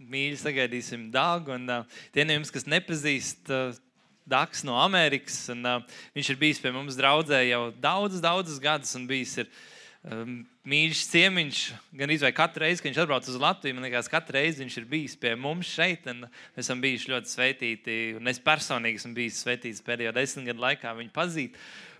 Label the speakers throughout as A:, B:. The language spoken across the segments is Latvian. A: mīļi sagaidīsim Dāngu. Un uh, tie no jums, kas nepazīst, uh, Dāks no Amerikas. Un, uh, viņš ir bijis pie mums draudzē jau daudzus, daudzus gadus un bijis. Ir, um, Mīļš ciemiņš, gan arī katru reizi, kad viņš atbrauc uz Latviju, man liekas, katru reizi viņš ir bijis pie mums šeit. Mēs esam bijuši ļoti sveitīti. un Es personīgi esmu bijis sveitīts pēdējo desmit gadu laikā, viņu pazīt.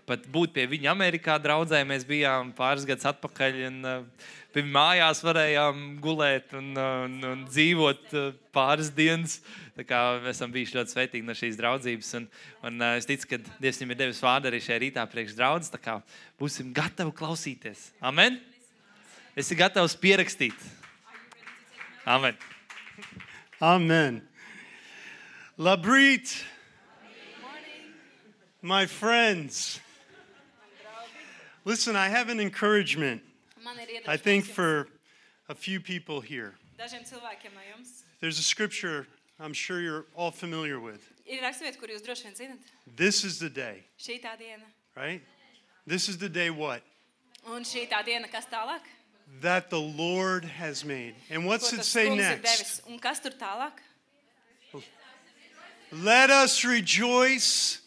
A: Pat būt pie viņa Amerikā draudzē, mēs bijām pāris gadus atpakaļ. Un, uh, pie mājās varējām gulēt un, uh, un, un dzīvot uh, pāris dienas. Tā kā Mēs esam bijuši ļoti sveitīgi no šīs draudzības. Un, un uh, es ticu, ka Dievs viņam ir devis vārdu arī šajā rītā priekš draudzes. Tā kā būsim gatavi klausīties. Amen! Esi gatavs pierakstīt. Amen.
B: Amen. Labrit, my friends. Listen, I have an encouragement,
C: Man ir
B: I think, for a few people here.
C: dažiem cilvēkiem no jums.
B: There's a scripture I'm sure you're all familiar with.
C: Ir raksturvieta, kur jūs droši vien zinat,
B: This is the day,
C: šī tā diena.
B: right? This is the day what?
C: Un šī tā diena, kas tālāk?
B: That the Lord has made. And what's
C: Ko
B: it
C: tas
B: say
C: kungs ir
B: next?
C: devis? Un kas tur tālāk?
B: Let us rejoice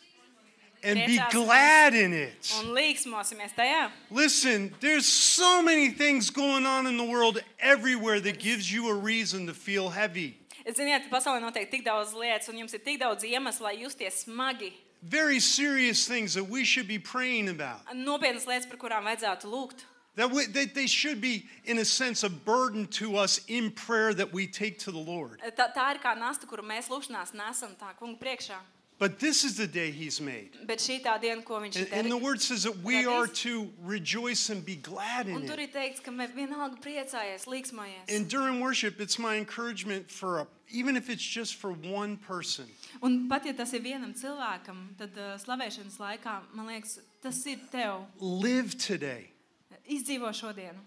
B: and be
C: Priecāsimies.
B: glad in it.
C: Un līksmosimies tajā.
B: Listen, there's so many things going on in the world everywhere that gives you a reason to feel heavy.
C: Es ziniet, pasaulē notiek tik daudz lietas, un jums ir tik daudz iemeslu, lai justies smagi.
B: Very serious things that we should be praying about.
C: Nopietnas lietas, par kurām vajadzētu lūgt.
B: That, we, that they should be, in a sense, a burden to us in prayer that we take to the Lord.
C: Tā, tā ir kā nasta, kuru mēs lūkšanās nesam tā kungu priekšā.
B: But this is the day He's made.
C: Bet šī tā diena, ko viņš
B: And,
C: ir
B: and the
C: devis.
B: Word says that we
C: That
B: are
C: is-
B: to rejoice and be glad
C: Un
B: in
C: tur
B: it.
C: ir teikts, ka mēs vienalga priecājies, līksmojies.
B: And during worship, it's my encouragement for, a, even if it's just for one person,
C: Un pat ja tas ir vienam cilvēkam, tad uh, slavēšanas laikā, man liekas, tas ir tev.
B: live today.
C: Izdzīvo šodienu.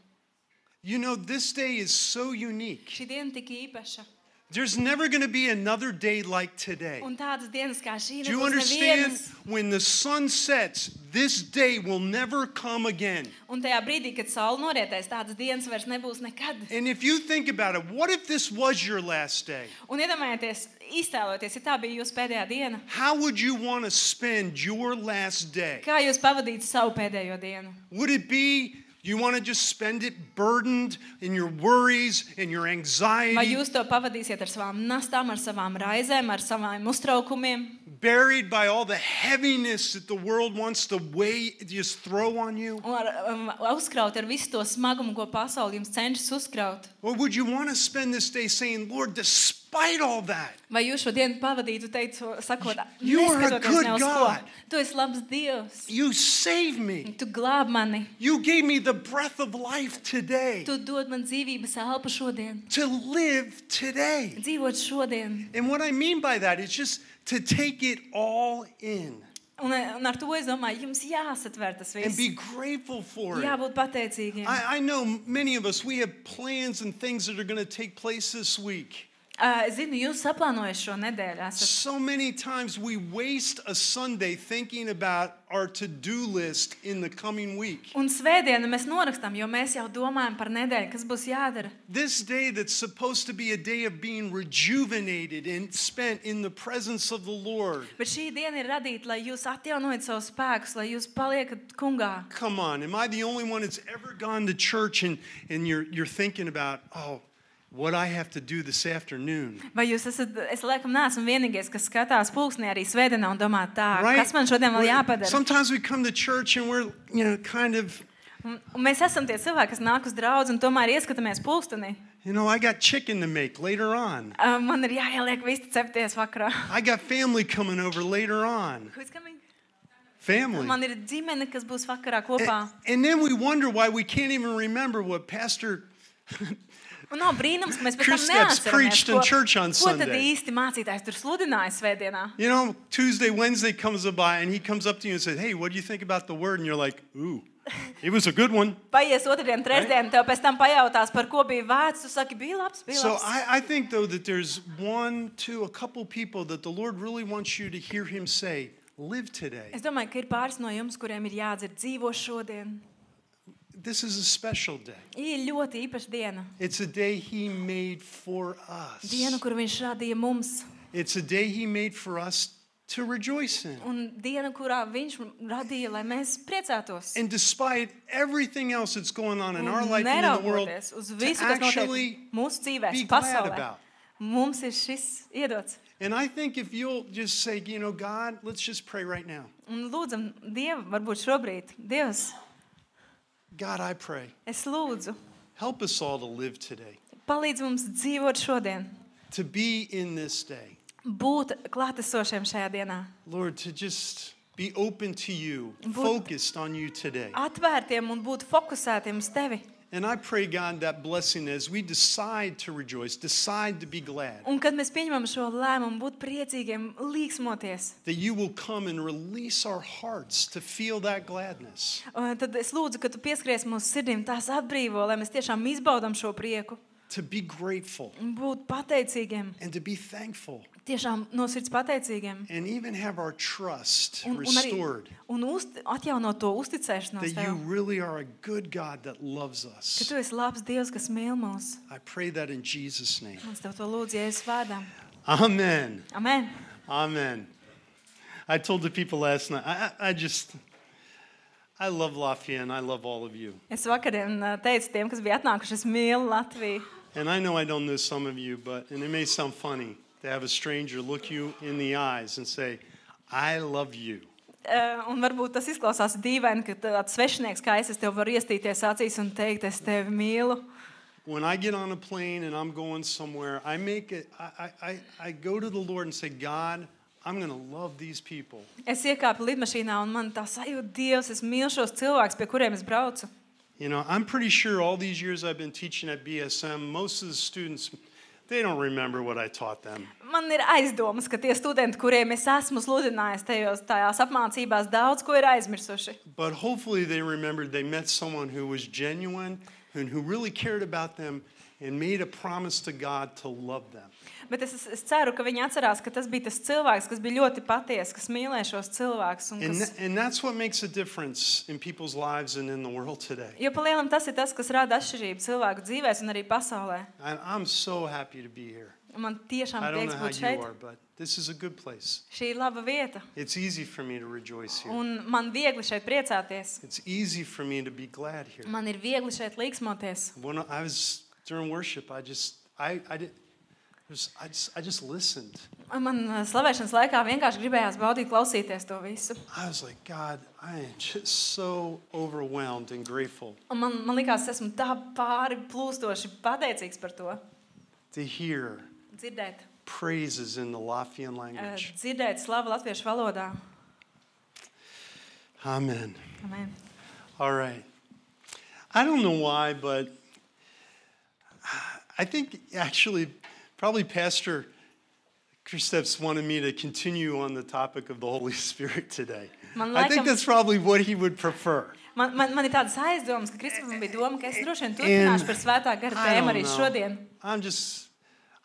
B: You know, this day is so unique.
C: Šī diena tik īpaša.
B: There's never going to be another day like today.
C: Un tādas dienas kā šī
B: Do you
C: nebūs
B: understand?
C: nevienas.
B: When the sun sets, this day will never come again.
C: Un tajā brīdī, kad saule norietēs, tādas dienas vairs nebūs nekad.
B: And if you think about it, what if this was your last day?
C: Un iedomājieties, iztēloties, ja tā bija jūsu pēdējā diena,
B: How would you want to spend your last day?
C: kā jūs pavadītu savu pēdējo dienu?
B: Would it be you want to just spend it burdened in your worries and your
C: Vai
B: anxiety,
C: jūs to pavadīsiet ar savām nastām, ar savām raizēm, ar savām uztraukumiem?
B: buried by all the heaviness that the world wants to weigh, just throw on you?
C: Un ar, um, uzkraut ar visu to smagumu, ko pasaule jums cenšas uzkraut?
B: Or would you want to spend this day saying, Lord, despite all that,
C: Vai jūs šo dienu pavadītu, teicu, sakot,
B: You are a
C: neskatoties
B: good
C: ne uz ko?
B: God.
C: Tu esi labs Dievs.
B: You saved me.
C: Tu glāb mani.
B: You gave me the breath of life today
C: Tu dod man dzīvības elpu šodien.
B: to live today.
C: Dzīvot šodien.
B: And what I mean by that is just to take it all in
C: Un, un ar to es domāju, jums jāsatver tas
B: and be
C: viss.
B: grateful for it.
C: Jābūt pateicīgiem.
B: I, I know many of us, we have plans and things that are going to take place this week.
C: Ā, Es zinu, jūs saplānojat šo nedēļu. esat.
B: So many times we waste a Sunday thinking about our to do list in the coming week.
C: Un svētdienu mēs norakstām, jo mēs jau domājam par nedēļu, kas būs jādara.
B: This day that's supposed to be a day of being rejuvenated and spent in the presence of the Lord.
C: Bet šī diena ir radīta, lai jūs atjaunojat savus spēkus, lai jūs paliekat kungā.
B: Come on, am I the only one that's ever gone to church and, and you're, you're thinking about, oh, what I have to do this afternoon?
C: Vai jūs esat, es laikam neesmu vienīgais, kas skatās pulksnī arī svētdienā un domā, tā,
B: Right?
C: kas man šodien vēl
B: We're-
C: jāpadara?
B: Sometimes we come to church and we're, you know, kind of,
C: Un, un mēs esam tie cilvēki, kas nāk uz draugu un tomēr ieskatāmies pulkstenī.
B: you know, I got chicken to make later on.
C: Uh, Man ir jāieliek viss cepties vakarā.
B: I got family coming over later on.
C: Who's coming?
B: Family.
C: Man ir ģimene, kas būs vakarā kopā.
B: And, and then we wonder why we can't even remember what Pastor
C: Un nav brīnums, ka mēs pēc tam
B: Chris Steps
C: neatceramies,
B: preached in church on
C: ko tad
B: Sunday.
C: īsti mācītājs tur sludināja svētdienā.
B: You know, Tuesday, Wednesday comes by and he comes up to you and says, Hey, what do you think about the word? And you're like, Ooh, it was a good one.
C: Paies otrdien, trešdien, tev pēc tam pajautās, par ko bija vārds. Tu saki, bija labs, bija
B: So
C: labs.
B: I, I think, though, that there's one, two, a couple people that the Lord really wants you to hear him say, Live today.
C: Es domāju, ka ir pāris no jums, kuriem ir jādzird dzīvo šodien.
B: this is a special day.
C: Ir ļoti īpaša diena.
B: It's a day He made for us.
C: Diena, kuru viņš radīja mums,
B: It's a day He made for us to rejoice in.
C: un diena, kurā viņš radīja, lai mēs priecātos.
B: And despite everything else that's going on in our
C: Un
B: life and in the world,
C: neraugoties uz
B: to
C: visu, kas
B: actually
C: notiek mūsu dzīvē,
B: be glad
C: pasaulē,
B: about.
C: mums ir šis iedots.
B: And I think if you'll just say, you know, God, let's just pray right now.
C: Un lūdzam, Dievu, varbūt šobrīd, Dievs,
B: God, I pray.
C: es lūdzu,
B: Help us all to live today,
C: palīdz mums dzīvot šodien,
B: to be in this day.
C: būt klātesošiem šajā dienā,
B: Lord, to just be open to you,
C: But-
B: focused on you today.
C: atvērtiem un būt fokusētiem uz Tevi.
B: And I pray, God, that blessing as we decide to rejoice, decide to be glad,
C: Un kad mēs pieņemam šo lēmumu, būt priecīgiem, līksmoties,
B: that you will come and release our hearts to feel that gladness.
C: uh, tad es lūdzu, ka tu pieskaries mūsu sirdīm, tās atbrīvo, lai mēs tiešām izbaudām šo prieku,
B: to be grateful
C: un būt pateicīgiem,
B: and to be thankful
C: tiešām no sirds pateicīgiem.
B: and even have our trust
C: Un, un, arī,
B: restored
C: un uzt, atjaunot to uzticēšanos
B: that you
C: tev,
B: really are a good God that loves
C: ka
B: us.
C: tu esi labs Dievs, kas mīl mūs.
B: I pray that in Jesus' name.
C: Mums tev to lūdzu, Jēzus vārdā.
B: Amen.
C: Amen.
B: Amen. I told the people last night, I, I I just, I love Lafayette and I love all of you.
C: Es vakariem ā, teicu tiem, kas bija atnākuši, es mīlu Latviju.
B: And I know I don't know some of you, but, and it may sound funny to have a stranger look you in the eyes and say, I love you.
C: Ā, Uh, Un varbūt tas izklausās dīvaini, ka tāds svešinieks kā es, es tev varu iestīties acīs un teikt, es tevi mīlu.
B: when I get on a plane and I'm going somewhere, I make it, I, I, I- I go to the Lord and say, God, I'm going to love these people.
C: Es iekāpu lidmašīnā un man tā sajūta, Dievs, es mīlu šos cilvēkus, pie kuriem es braucu.
B: You know, I'm pretty sure all these years I've been teaching at BSM, most of the students, they don't remember what I taught them.
C: Man ir aizdomas, ka tie studenti, kuriem es esmu sludinājis tajos, tajās apmācībās, daudz ko ir aizmirsuši.
B: But hopefully they remembered they met someone who was genuine and who really cared about them and made a promise to God to love them.
C: Bet es, es ceru, ka viņi atcerās, ka tas bija tas cilvēks, kas bija ļoti patiess, kas mīlēja šos cilvēkus. un
B: And,
C: Kas...
B: tha- and that's what makes a difference in people's lives and in the world today.
C: Jo palielam tas ir tas, kas rada atšķirību cilvēku dzīvēs un arī pasaulē.
B: And I'm so happy to be here.
C: Un Man tiešām
B: I don't know
C: prieks
B: how
C: būt
B: you
C: šeit.
B: are, but this is a good place.
C: Šī ir laba vieta.
B: It's easy for me to rejoice here.
C: Un man viegli šeit priecāties.
B: It's easy for me to be glad here.
C: Man ir viegli šeit līksmoties.
B: When I was during worship, I just I I did was, I just I just listened.
C: Un Man ā, slavēšanas laikā vienkārši gribējās baudīt, klausīties to visu.
B: I was like, God, I am just so overwhelmed and grateful
C: Un man, man liekas, es esmu tā pāri plūstoši pateicīgs par to.
B: to hear
C: Dzirdēt,
B: praises in the Lafian
C: ā,
B: language.
C: dzirdēt slavu latviešu valodā.
B: Amen.
C: Amen.
B: All right. I don't know why, but I think actually, probably Pastor Kristaps wanted me to continue on the topic of the Holy Spirit today.
C: Man
B: I think
C: laikam-
B: that's probably what he would prefer.
C: Man, man, man ir tādas aizdomas, ka Kristofam bija doma, ka es droši
B: And-
C: vien turpināšu par svētā gara
B: I don't
C: tēmu arī
B: know.
C: šodien.
B: I'm just,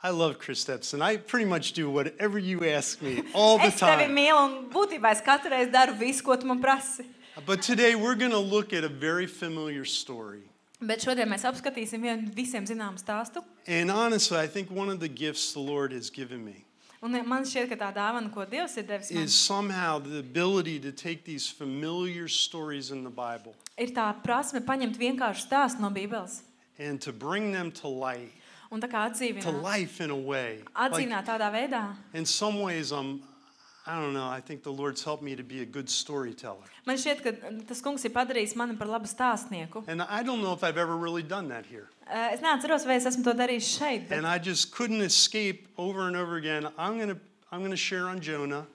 B: I love Kristaps, and I pretty much do whatever you ask me all the
C: Es tevi
B: time.
C: mīlu, un būtībā es katru reizi daru visu, ko tu man prasi.
B: But today we're going to look at a very familiar story.
C: Bet šodien mēs apskatīsim vienu visiem zināmu stāstu.
B: And honestly, I think one of the gifts the Lord has given me.
C: Un eh, man šķiet, ka tā dāvana, ko Dievs ir devis, man,
B: is somehow the ability to take these familiar stories in the Bible
C: ir tā prasme paņemt vienkāršu stāstu no Bībeles
B: and to bring them to light,
C: un tā kā
B: to
C: atdzīvināt.
B: life in a way. Like,
C: Atzīmēt tādā veidā.
B: in some ways, I'm, I don't know, I think the Lord's helped me to be a good storyteller.
C: Man šķiet, ka mm, tas kungs ir padarījis mani par labu stāstnieku.
B: And I don't know if I've ever really done that here.
C: Eh, Es neatceros, vai es esmu to darījis šeit, bet
B: And I just couldn't escape over and over again. I'm going to I'm going to share on Jonah.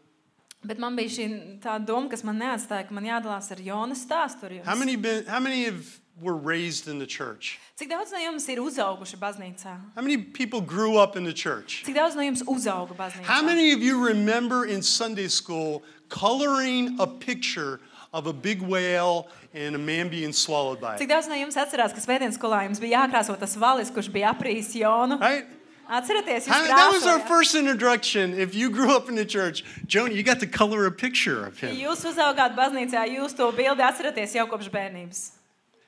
C: Bet man bija šī tā doma, kas man neatstāja, ka man jādalās ar Jonas stāstu. ar jums.
B: How many been, how many of were raised in the church?
C: Cik daudz no jums ir uzauguši baznīcā?
B: How many people grew up in the church?
C: Cik daudz no jums uzauga baznīcā?
B: How many of you remember in Sunday school coloring a picture of a big whale and a man being swallowed by it?
C: Cik daudz no jums atcerās, ka svētdienas skolā jums bija jākrāso tas valis, kurš bija aprījis Jonu?
B: Right?
C: Atcerieties,
B: How-
C: jūs
B: that was our
C: krāsojāt.
B: first introduction. If you grew up in the church, Jonah, you got to color a picture of him.
C: Jūs uzaugāt baznīcā, jūs to bildi atceraties jau kopš bērnības.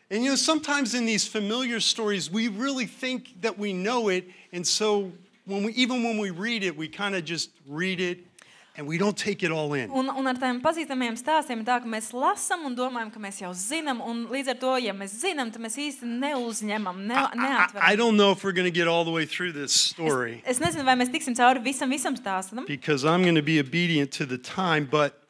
B: And you know, sometimes in these familiar stories, we really think that we know it, and so when we, even when we read it, we kind of just read it and we don't take it all in.
C: Un, un ar tādiem pazīstamiem stāstiem ir tā, ka mēs lasām un domājam, ka mēs jau zinām. un Līdz ar to, ja mēs zinām, tad mēs īsti neuzņemam, ne,
B: I, I
C: neatveram.
B: don't know if we're going to get all the way through this story
C: Es nezinu, vai mēs tiksim cauri visam, visam stāstam,
B: because I'm going to be obedient to the time, but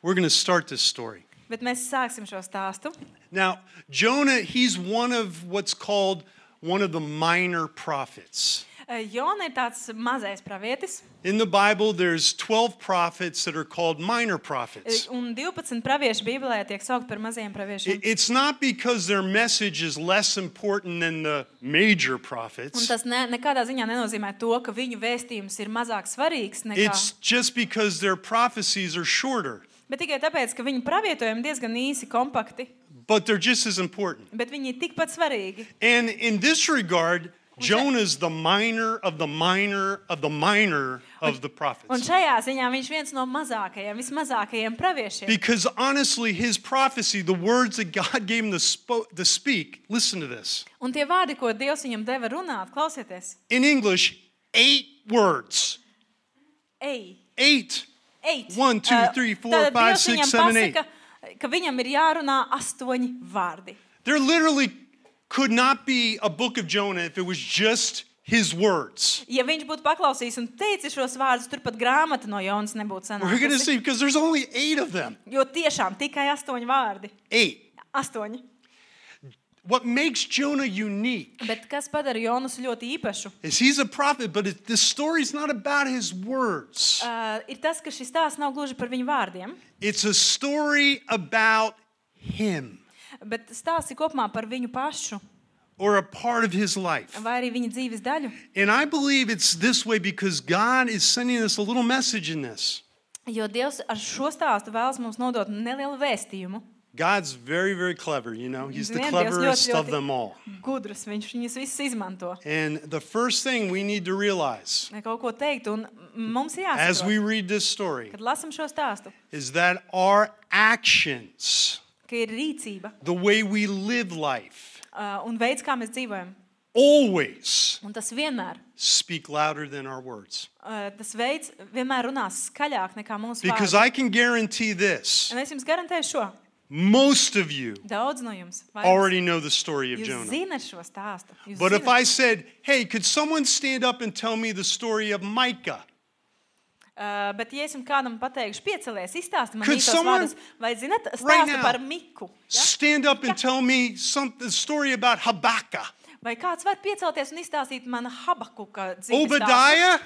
B: we're going to start this story.
C: bet mēs sāksim šo stāstu.
B: Now, Jonah, he's one of what's called one of the minor prophets.
C: Eh, Jona ir tāds mazais pravietis,
B: In the Bible, there's 12 prophets that are called minor prophets.
C: eh, un 12 pravieši Bībelē tiek saukti par mazajiem praviešiem.
B: It- It's not because their message is less important than the major
C: Un
B: prophets.
C: tas ne, nekādā ziņā nenozīmē to, ka viņu vēstījums ir mazāk svarīgs nekā.
B: It's just because their prophecies are shorter,
C: Bet tikai tāpēc, ka viņu pravietojumi diezgan īsi, kompakti,
B: but they're just as important.
C: bet viņi ir tikpat svarīgi.
B: And in this regard, Jonah's the minor of the minor of the minor of the
C: Un
B: prophets.
C: šajā ziņā viņš ir viens no mazākajiem, vismazākajiem praviešiem.
B: Because honestly, his prophecy, the words that God gave him to, spo- to speak, listen to this.
C: Un tie vārdi, ko Dievs viņam deva runāt, klausieties,
B: In English, eight words.
C: ej,
B: Eight.
C: ej. Eh,
B: One, two, three, four, five, six, seven, eight.
C: Ka viņam ir jārunā astoņi vārdi.
B: There literally could not be a book of Jonah if it was just his words.
C: Ja viņš būtu paklausījis un teicis šos vārdus, turpat grāmata no Jonas nebūtu
B: We're going to
C: sanākusi.
B: see because there's only eight of them.
C: Jo tiešām tikai astoņi vārdi.
B: Eight.
C: Astoņi.
B: What makes Jonah unique
C: Bet kas padara Jonas ļoti īpašu?
B: is he's a prophet, but it, this story's not about his words.
C: Uh, ir tas, ka šis stāsts nav gluži par viņu vārdiem,
B: It's a story about him
C: bet stāsts ir kopumā par viņu pašu
B: or a part of his life.
C: vai arī viņa dzīves daļu.
B: And I believe it's this way because God is sending us a little message in this.
C: Jo Dievs ar šo stāstu vēlas mums nodot nelielu vēstījumu.
B: God's very, very clever, you know. He's the
C: Man, Dievs
B: cleverest
C: ļoti,
B: of
C: ļoti-
B: them all.
C: Gudrs viņš viņus visus izmanto.
B: And the first thing we need to realize
C: Lai kaut ko teikt, un mums ir
B: as we
C: jāsaprot,
B: read this story
C: kad lasām šo stāstu,
B: is that our actions,
C: ka ir rīcība
B: the way we live life,
C: uh, un veids, kā mēs dzīvojam.
B: always
C: Un tas vienmēr,
B: speak louder than our words.
C: uh, tas veids vienmēr runās skaļāk nekā mūsu
B: Because
C: vārdi.
B: I can guarantee this
C: Un es jums garantēju šo.
B: most of you
C: Daudz no jums vairums,
B: already know the story of
C: jūs
B: Jonah.
C: zinat šo stāstu. Jūs
B: But if
C: zinat.
B: I said, hey, could someone stand up and tell me the story of Micah?
C: Uh, bet, ja es jums kādam pateikšu, piecelies, izstāstiet man
B: Could
C: īstos
B: someone
C: vārdus, vai zinat,
B: right
C: stāstu
B: now
C: par Miku. Ja?
B: Stand up and tell me some, the story about Habakkuk,
C: Vai kāds var piecelties un izstāstīt man Habakuka dzīves stāstu?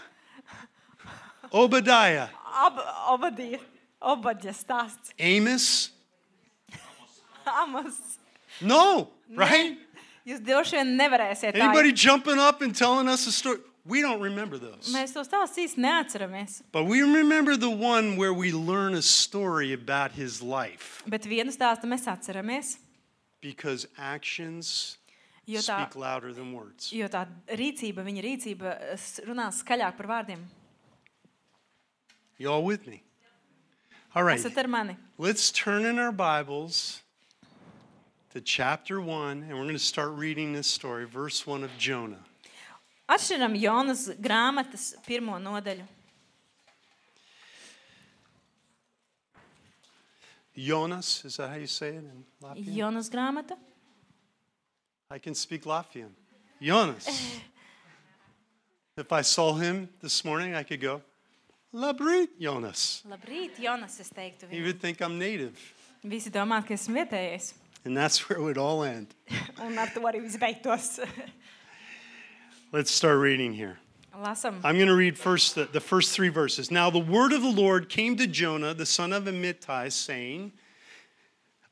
B: Obadiah? Obadiah,
C: Ab, Obadija. Obadija stāsts.
B: Amos?
C: Amos.
B: No, right?
C: Jūs droši vien nevarēsiet tā.
B: Anybody jumping up and telling us a story? We don't remember those.
C: Mēs to stāstu īsti neatceramies.
B: But we remember the one where we learn a story about his life
C: Bet vienu stāstu mēs atceramies,
B: because actions
C: jo tā,
B: speak louder than words.
C: jo tā rīcība, viņa rīcība eh, s- runās skaļāk par vārdiem.
B: You all with me? All right.
C: Esat ar mani.
B: Let's turn in our Bibles to chapter 1 and we're going to start reading this story, verse 1 of Jonah.
C: Atšķiram Jonas grāmatas pirmo nodaļu.
B: Jonas, is that how you say it in Latvian?
C: Jonas grāmata.
B: I can speak Latvian. Jonas. if I saw him this morning, I could go, Labrīt, Jonas.
C: Labrīt, Jonas, es teiktu.
B: He
C: Viņam.
B: would think I'm native.
C: Visi domā, ka esmu vietējais.
B: And that's where it would all end.
C: Un ar to arī viss beigtos.
B: Let's start reading here.
C: Lasam.
B: I'm going to read first the, the first three verses. Now, the word of the Lord came to Jonah, the son of Amittai, saying,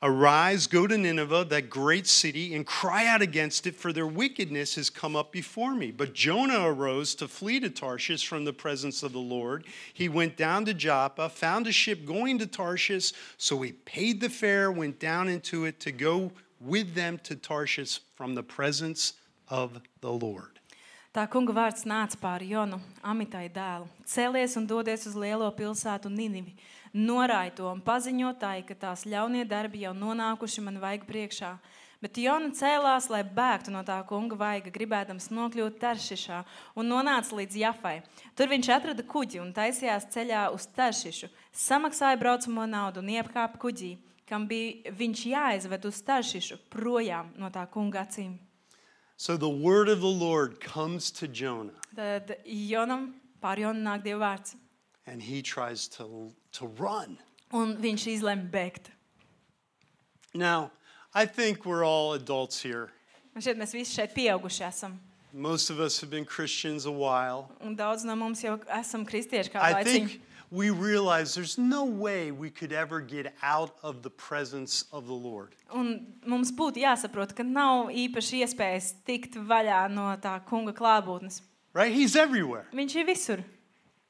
B: Arise, go to Nineveh, that great city, and cry out against it, for their wickedness has come up before me. But Jonah arose to flee to Tarshish from the presence of the Lord. He went down to Joppa, found a ship going to Tarshish, so he paid the fare, went down into it to go with them to Tarshish from the presence of the Lord.
C: Tā kunga vārds nāca pāri Jonu, Amitai dēlu. Cēlies un dodies uz lielo pilsētu Ninivi. Norāja to un paziņotāji, ka tās ļaunie darbi jau nonākuši man vajag priekšā. Bet Jona cēlās, lai bēgtu no tā kunga vaiga, gribēdams nokļūt Taršišā, un nonāca līdz Jafai. Tur viņš atrada kuģi un taisījās ceļā uz Taršišu, samaksāja braucamo naudu un iekāpa kuģī, kam bija viņš jāizved uz Taršišu, projām no tā kunga acīm.
B: So the word of the Lord comes to Jonah,
C: Tad Jonam pāri Jonam nāk dieva vārds,
B: and he tries to, to run.
C: un viņš izlemj bēgt.
B: Now, I think we're all adults here.
C: Man šķiet, mēs visi šeit pieauguši esam.
B: Most of us have been Christians a while.
C: Un daudz no mums jau esam kristieši, kā
B: I
C: laicīgi.
B: think we realize there's no way we could ever get out of the presence of the Lord.
C: Un mums būtu jāsaprot, ka nav īpaši iespējas tikt vaļā no tā kunga klātbūtnes.
B: Right? He's everywhere.
C: Viņš ir visur.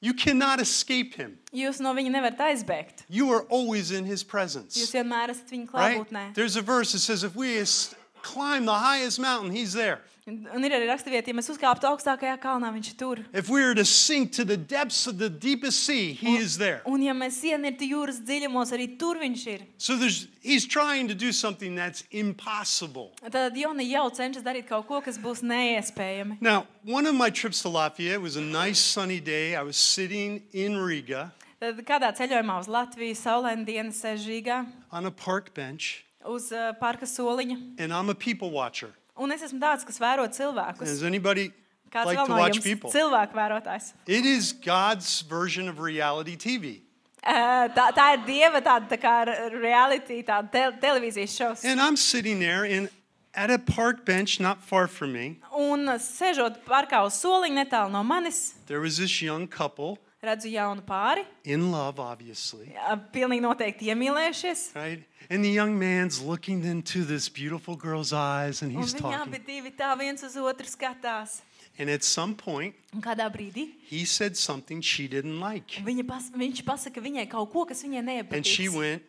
B: You cannot escape him.
C: Jūs no viņa nevarat aizbēgt.
B: You are always in his
C: Jūs
B: presence.
C: vienmēr esat viņa
B: Right?
C: klātbūtnē.
B: There's a verse that says if we es- climb the highest mountain, he's there.
C: Un ir arī raksturvieta, ja mēs uzkāptu augstākajā kalnā, viņš ir tur.
B: If we are to sink to the depths of the deepest sea, he is there.
C: Un ja mēs ienirtu jūras dziļumos, arī tur viņš ir.
B: So there's he's trying to do something that's impossible.
C: Tad Jona jau cenšas darīt kaut ko, kas būs neiespējami.
B: Now, one of my trips to Lafayette it was a nice sunny day. I was sitting in Riga
C: Tad kādā ceļojumā uz Latviju saulaina diena sēžīgā
B: on a park bench,
C: uz eh, parka soliņa.
B: and I'm a people watcher.
C: Un es esmu tāds, kas vēro cilvēkus.
B: Does anybody
C: Kāds
B: like
C: vēl
B: to
C: no
B: watch
C: jums?
B: people?
C: Cilvēku vērotājs.
B: It is God's version of reality TV.
C: Eh, Tā, tā ir dieva tāda tā kā reality, tāda te, televīzijas šovs.
B: And I'm sitting there in at a park bench not far from me.
C: Un sēžot parkā uz soliņa netālu no manis,
B: There was this young couple
C: redzu jaunu pāri,
B: in love, obviously,
C: eh, pilnīgi noteikti iemīlējušies.
B: right? And the young man's looking into this beautiful girl's eyes and
C: Un
B: he's
C: viņi
B: talking.
C: abi divi tā viens uz otru skatās.
B: And at some point,
C: Un kādā brīdī
B: he said something she didn't like.
C: viņa pas, viņš pasaka viņai kaut ko, kas viņai
B: And she
C: neiepatīk.
B: went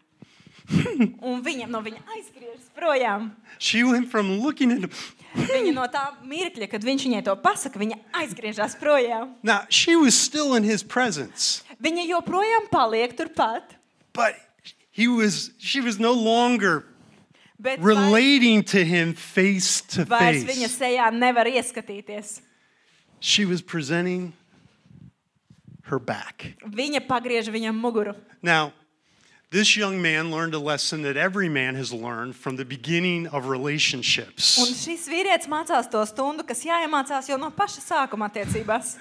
C: Un viņa no viņa aizskrienas projām. she
B: went from looking at him.
C: Viņa no tā mirkļa, kad viņš viņai to pasaka, viņa aizgriežas projām.
B: Now, she was still in his presence,
C: Viņa joprojām paliek turpat.
B: but he was she was no longer
C: Bet vairs-
B: relating to him face to
C: vairs viņa
B: face.
C: sejā nevar ieskatīties.
B: She was presenting her back.
C: Viņa pagriež viņam muguru.
B: Now, this young man learned a lesson that every man has learned from the beginning of
C: Un
B: relationships.
C: šis vīrietis mācās to stundu, kas jāiemācās jau no paša sākuma attiecībās.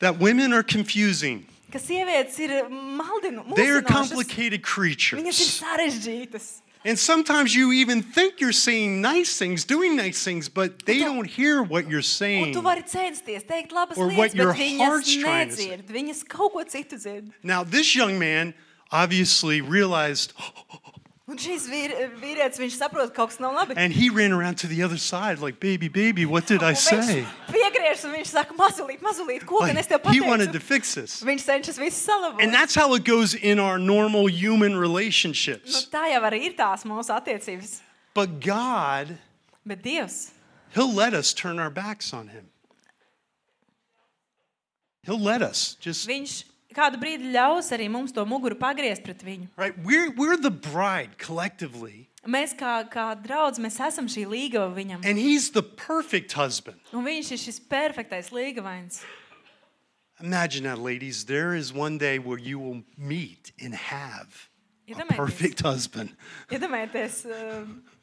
B: That women are confusing.
C: Ka sievietes ir maldinu,
B: They are
C: mūsinošas.
B: complicated
C: Viņas ir
B: creatures.
C: sarežģītas.
B: And sometimes you even think you're saying nice things, doing nice things, but they don't hear what you're
C: Un
B: saying.
C: tu vari censties teikt labas
B: Or what
C: lietas,
B: your
C: bet
B: heart's
C: viņas
B: trying to say.
C: nedzird. Viņas kaut ko citu dzird.
B: Now, this young man obviously realized,
C: Un šis vīr, vīrietis, viņš saprot, ka kaut kas nav labi.
B: and he ran around to the other side, like, baby, baby, what did I
C: Un viņš
B: say?
C: Piegriežas un viņš saka, mazulīt, mazulīt, ko gan es tev
B: Like, he wanted to
C: pateicu?
B: fix this.
C: Viņš cenšas visu salabot.
B: And that's how it goes in our normal human
C: Nu,
B: relationships.
C: tā jau arī ir tās mūsu attiecības.
B: But God,
C: Bet Dievs,
B: He'll let us turn our backs on Him. He'll let us just,
C: Viņš kādu brīdi ļaus arī mums to muguru pagriezt pret viņu.
B: right? We're, we're the bride collectively,
C: Mēs kā, kā draugi, mēs esam šī līgava viņam.
B: and He's the perfect husband.
C: Un viņš ir šis perfektais līgavains.
B: Imagine that, ladies. There is one day where you will meet and have a
C: Iedomājieties.
B: perfect husband.
C: Iedomājieties, uh,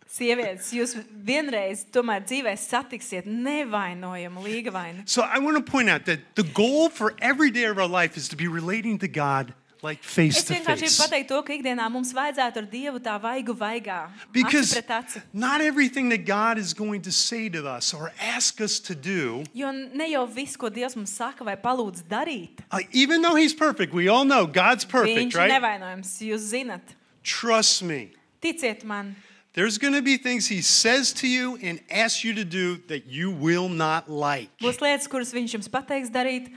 C: sievietes, jūs vienreiz tomēr dzīvē satiksiet nevainojamu līgavainu.
B: So I want to point out that the goal for every day of our life is to be relating to God like face
C: Es
B: to
C: vienkārši gribu
B: face.
C: pateikt to, ka ikdienā mums vajadzētu ar Dievu tā vaigu vaigā. Aci
B: Because
C: pret aci.
B: not everything that God is going to say to us or ask us to do,
C: Jo ne jau viss, ko Dievs mums saka vai palūdz darīt,
B: uh, even though He's perfect, we all know God's perfect,
C: viņš
B: right?
C: ir nevainojams. Jūs zinat,
B: Trust me.
C: ticiet man,
B: There's going to be things He says to you and asks you to do that you will not like.
C: būs lietas, kuras viņš jums pateiks darīt,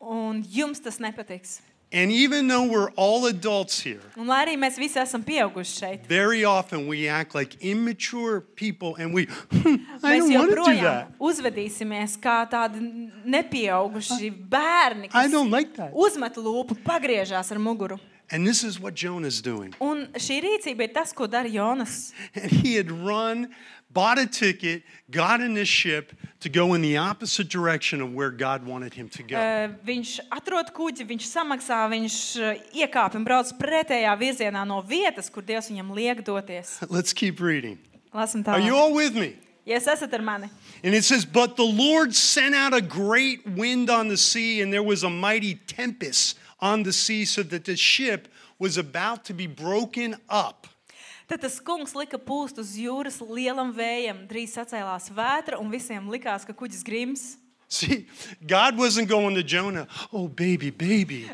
C: un jums tas nepatiks.
B: And even though we're all adults here,
C: Un lai arī mēs visi esam pieauguši šeit,
B: very often we act like immature people and we, "Hmm, I
C: mēs
B: don't want to do that.
C: joprojām uzvedīsimies kā tādi nepieauguši bērni,
B: I
C: kas
B: don't like that.
C: uzmet lūpu, pagriežās ar muguru.
B: And this is what Jonah's doing.
C: Un šī rīcība ir tas, ko dara Jonas.
B: And he had run, bought a ticket, got in his ship to go in the opposite direction of where God wanted him to go.
C: Eh, Viņš atrod kuģi, viņš samaksā, viņš eh, iekāp un brauc pretējā virzienā no vietas, kur Dievs viņam liek doties.
B: Let's keep reading.
C: Lasim
B: Are you
C: tālāk.
B: all with me?
C: Jūs esat ar mani.
B: And it says, But the Lord sent out a great wind on the sea, and there was a mighty tempest on the sea, so that the ship was about to be broken up.
C: Tad tas kungs lika pūst uz jūras lielam vējam, drīz sacēlās vētra, un visiem likās, ka kuģis grims.
B: See, God wasn't going to Jonah, oh, baby, baby.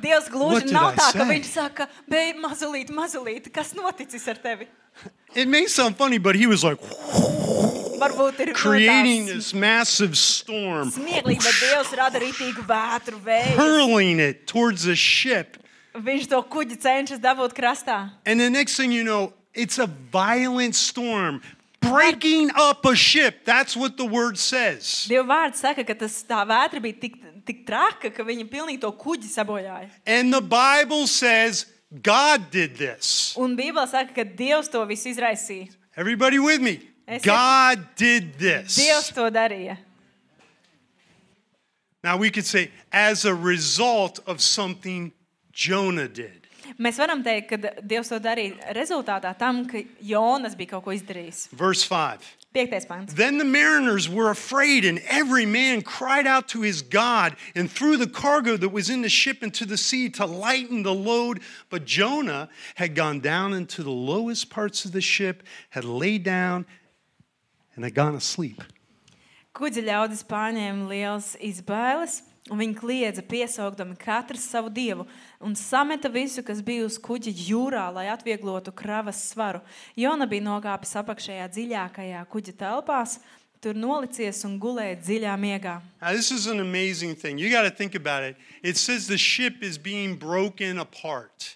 C: Dievs
B: What
C: gluži
B: did I
C: nav tā, ka
B: say?
C: viņš saka, beigas, mazulīt, mazulīt, kas noticis ar tevi?
B: It may sound funny, but he was like
C: Varbūt ir
B: creating
C: no tās
B: this massive storm,
C: smieklīgi, bet Dievs rada rītīgu vētru vēju.
B: hurling it towards the ship.
C: Viņš to kuģi cenšas dabūt krastā.
B: And the next thing you know, it's a violent storm. Breaking up a ship. That's what the word says.
C: Dieva vārds saka, ka tas, tā vētra bija tik, tik traka, ka viņa pilnīgi to kuģi sabojāja.
B: And the Bible says God did this.
C: Un Bībelē saka, ka Dievs to visu izraisīja.
B: Everybody with me?
C: I said-
B: God did
C: Dievs
B: this.
C: to darīja.
B: Now we could say, as a result of something Jonah did.
C: Mēs varam teikt, ka Dievs to darīja rezultātā tam, ka Jonas bija kaut ko izdarījis.
B: Verse 5.
C: Piektais pants.
B: Then the mariners were afraid, and every man cried out to his God and threw the cargo that was in the ship into the sea to lighten the load. But Jonah had gone down into the lowest parts of the ship, had laid down, and had gone asleep.
C: Kuģa ļaudis pārņēma liels izbailes, un viņi kliedza, piesaugdami katrs savu dievu, un sameta visu, kas bija uz kuģa jūrā, lai atvieglotu kravas svaru. Jona bija nokāpis apakšējā dziļākajā kuģa telpās, tur nolicies un gulēja dziļā miegā.
B: Now, this is an amazing thing. You got to think about it. It says the ship is being broken apart.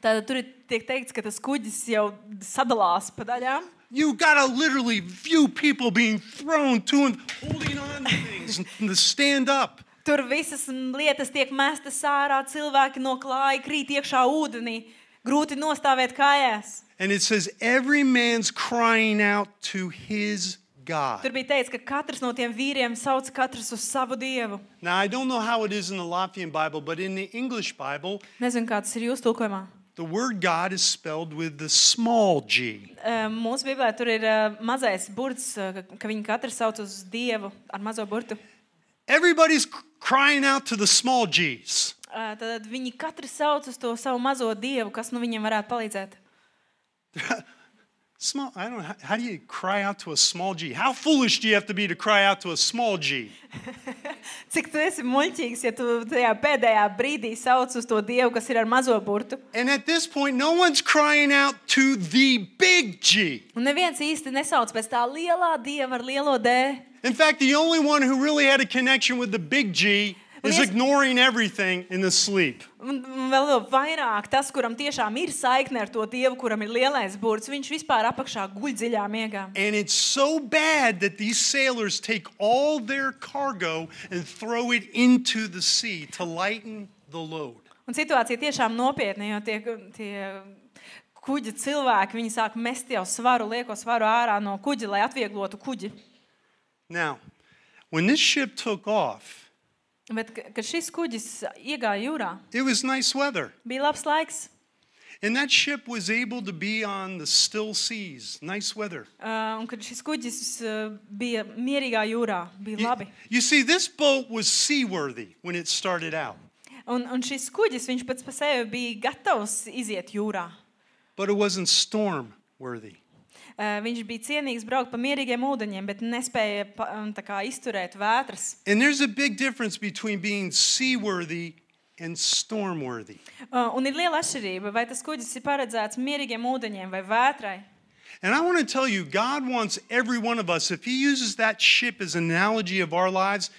C: Tātad tur ir tiek teikts, ka tas kuģis jau sadalās pa daļām.
B: You got to literally view people being thrown to and holding on to things and to stand up.
C: Tur visas mm, lietas tiek mestas ārā, cilvēki no klāja krīt iekšā ūdenī. Grūti nostāvēt kājās.
B: And it says, every man's crying out to his
C: Tur
B: God.
C: bija teikts, ka katrs no tiem vīriem sauc katrs uz savu dievu.
B: Now, I don't know how it is in the Latvian Bible, but in the English Bible,
C: Nezinu, kā tas ir jūsu tulkojumā.
B: the word God is spelled with the small g.
C: Eh, Mūsu Bībelē tur ir eh, mazais burts, eh, ka viņi katrs sauc uz dievu ar mazo burtu.
B: Everybody's c- crying out to the small g's.
C: Eh, Tad viņi katrs sauc uz to savu mazo dievu, kas nu viņiem varētu palīdzēt.
B: Small, I don't know. How, how do you cry out to a small g? How foolish do you have to be to cry out to a small g?
C: Cik tu esi muļķīgs, ja tu tajā pēdējā brīdī sauc uz to dievu, kas ir ar mazo burtu?
B: And at this point, no one's crying out to the big G.
C: Un neviens īsti nesauc pēc tā lielā dieva ar lielo D.
B: In fact, the only one who really had a connection with the big G is
C: Yes.
B: ignoring everything in the sleep.
C: Un, un vēl jau vairāk tas, kuram tiešām ir saikne ar to dievu, kuram ir lielais burts, viņš vispār apakšā guļ dziļā miegā.
B: And it's so bad that these sailors take all their cargo and throw it into the sea to lighten the load.
C: Un situācija tiešām nopietna, jo tie, tie kuģi cilvēki, viņi sāk mest jau svaru, lieko svaru ārā no kuģa, lai atvieglotu kuģi.
B: Now, when this ship took off,
C: Bet, ka- kad šis kuģis iegāja jūrā,
B: it was nice weather.
C: bija labs laiks.
B: And that ship was able to be on the still seas, nice weather.
C: Uh, un kad šis kuģis uh, bija mierīgā jūrā, bija
B: You,
C: labi.
B: you see, this boat was seaworthy when it started out,
C: Un, un šis kuģis, viņš pats par sevi bija gatavs iziet jūrā.
B: but it wasn't storm worthy.
C: Eh, Viņš bija cienīgs braukt pa mierīgiem ūdeņiem, bet nespēja pa, em, tā kā, izturēt vētras.
B: And there's a big difference between being seaworthy and stormworthy.
C: Eh, Un ir liela atšķirība, vai tas kuģis ir paredzēts mierīgiem ūdeņiem vai vētrai.
B: And I want to tell you, God wants every one of us, if He uses that ship as an analogy of our lives,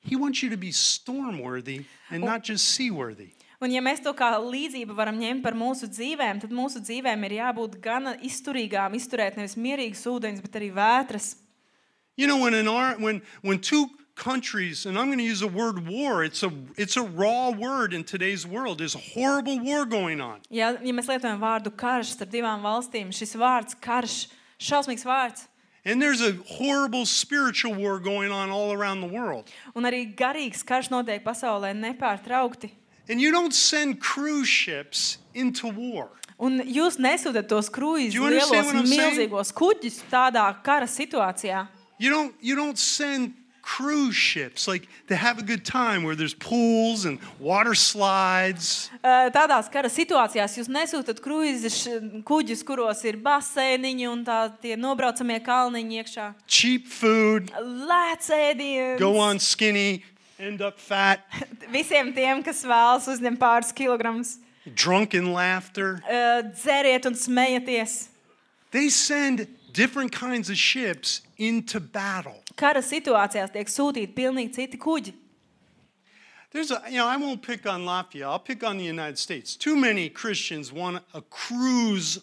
B: He wants you to be stormworthy and not just seaworthy.
C: Un, ja mēs to kā līdzību varam ņemt par mūsu dzīvēm, tad mūsu dzīvēm ir jābūt gan izturīgām, izturēt nevis mierīgas ūdeņus, bet arī vētras.
B: You know, when, an ar- when, when two countries, and I'm going to use the word war. It's a, it's a raw word in today's world. There's a horrible war going on.
C: Ja, ja mēs lietojam vārdu karš starp divām valstīm, šis vārds karš, šausmīgs vārds,
B: And there's a horrible spiritual war going on all around the world.
C: un arī garīgs karš notiek pasaulē nepārtraukti.
B: And you don't send cruise ships into war.
C: Un jūs nesūtat tos kruīzes,
B: Do you understand
C: lielos,
B: what I'm saying?
C: milzīgos kuģus tādā kara situācijā.
B: You don't, you don't send cruise ships like to have a good time where there's pools and water slides.
C: Eh, Tādās kara situācijās jūs nesūtat kruīzes š- kuģus, kuros ir baseiniņi un tā tie nobraucamie kalniņi iekšā.
B: Cheap food,
C: Lēcēdiens!
B: go on skinny, end up fat,
C: Visiem tiem, kas vēlas uzņemt pāris kilogramus,
B: drunken laughter.
C: eh, dzeriet un smējieties.
B: They send different kinds of ships into battle.
C: Kara situācijās tiek sūtīti pilnīgi citi kuģi.
B: There's a, you know, I won't pick on Latvia. I'll pick on the United States. Too many Christians want a cruise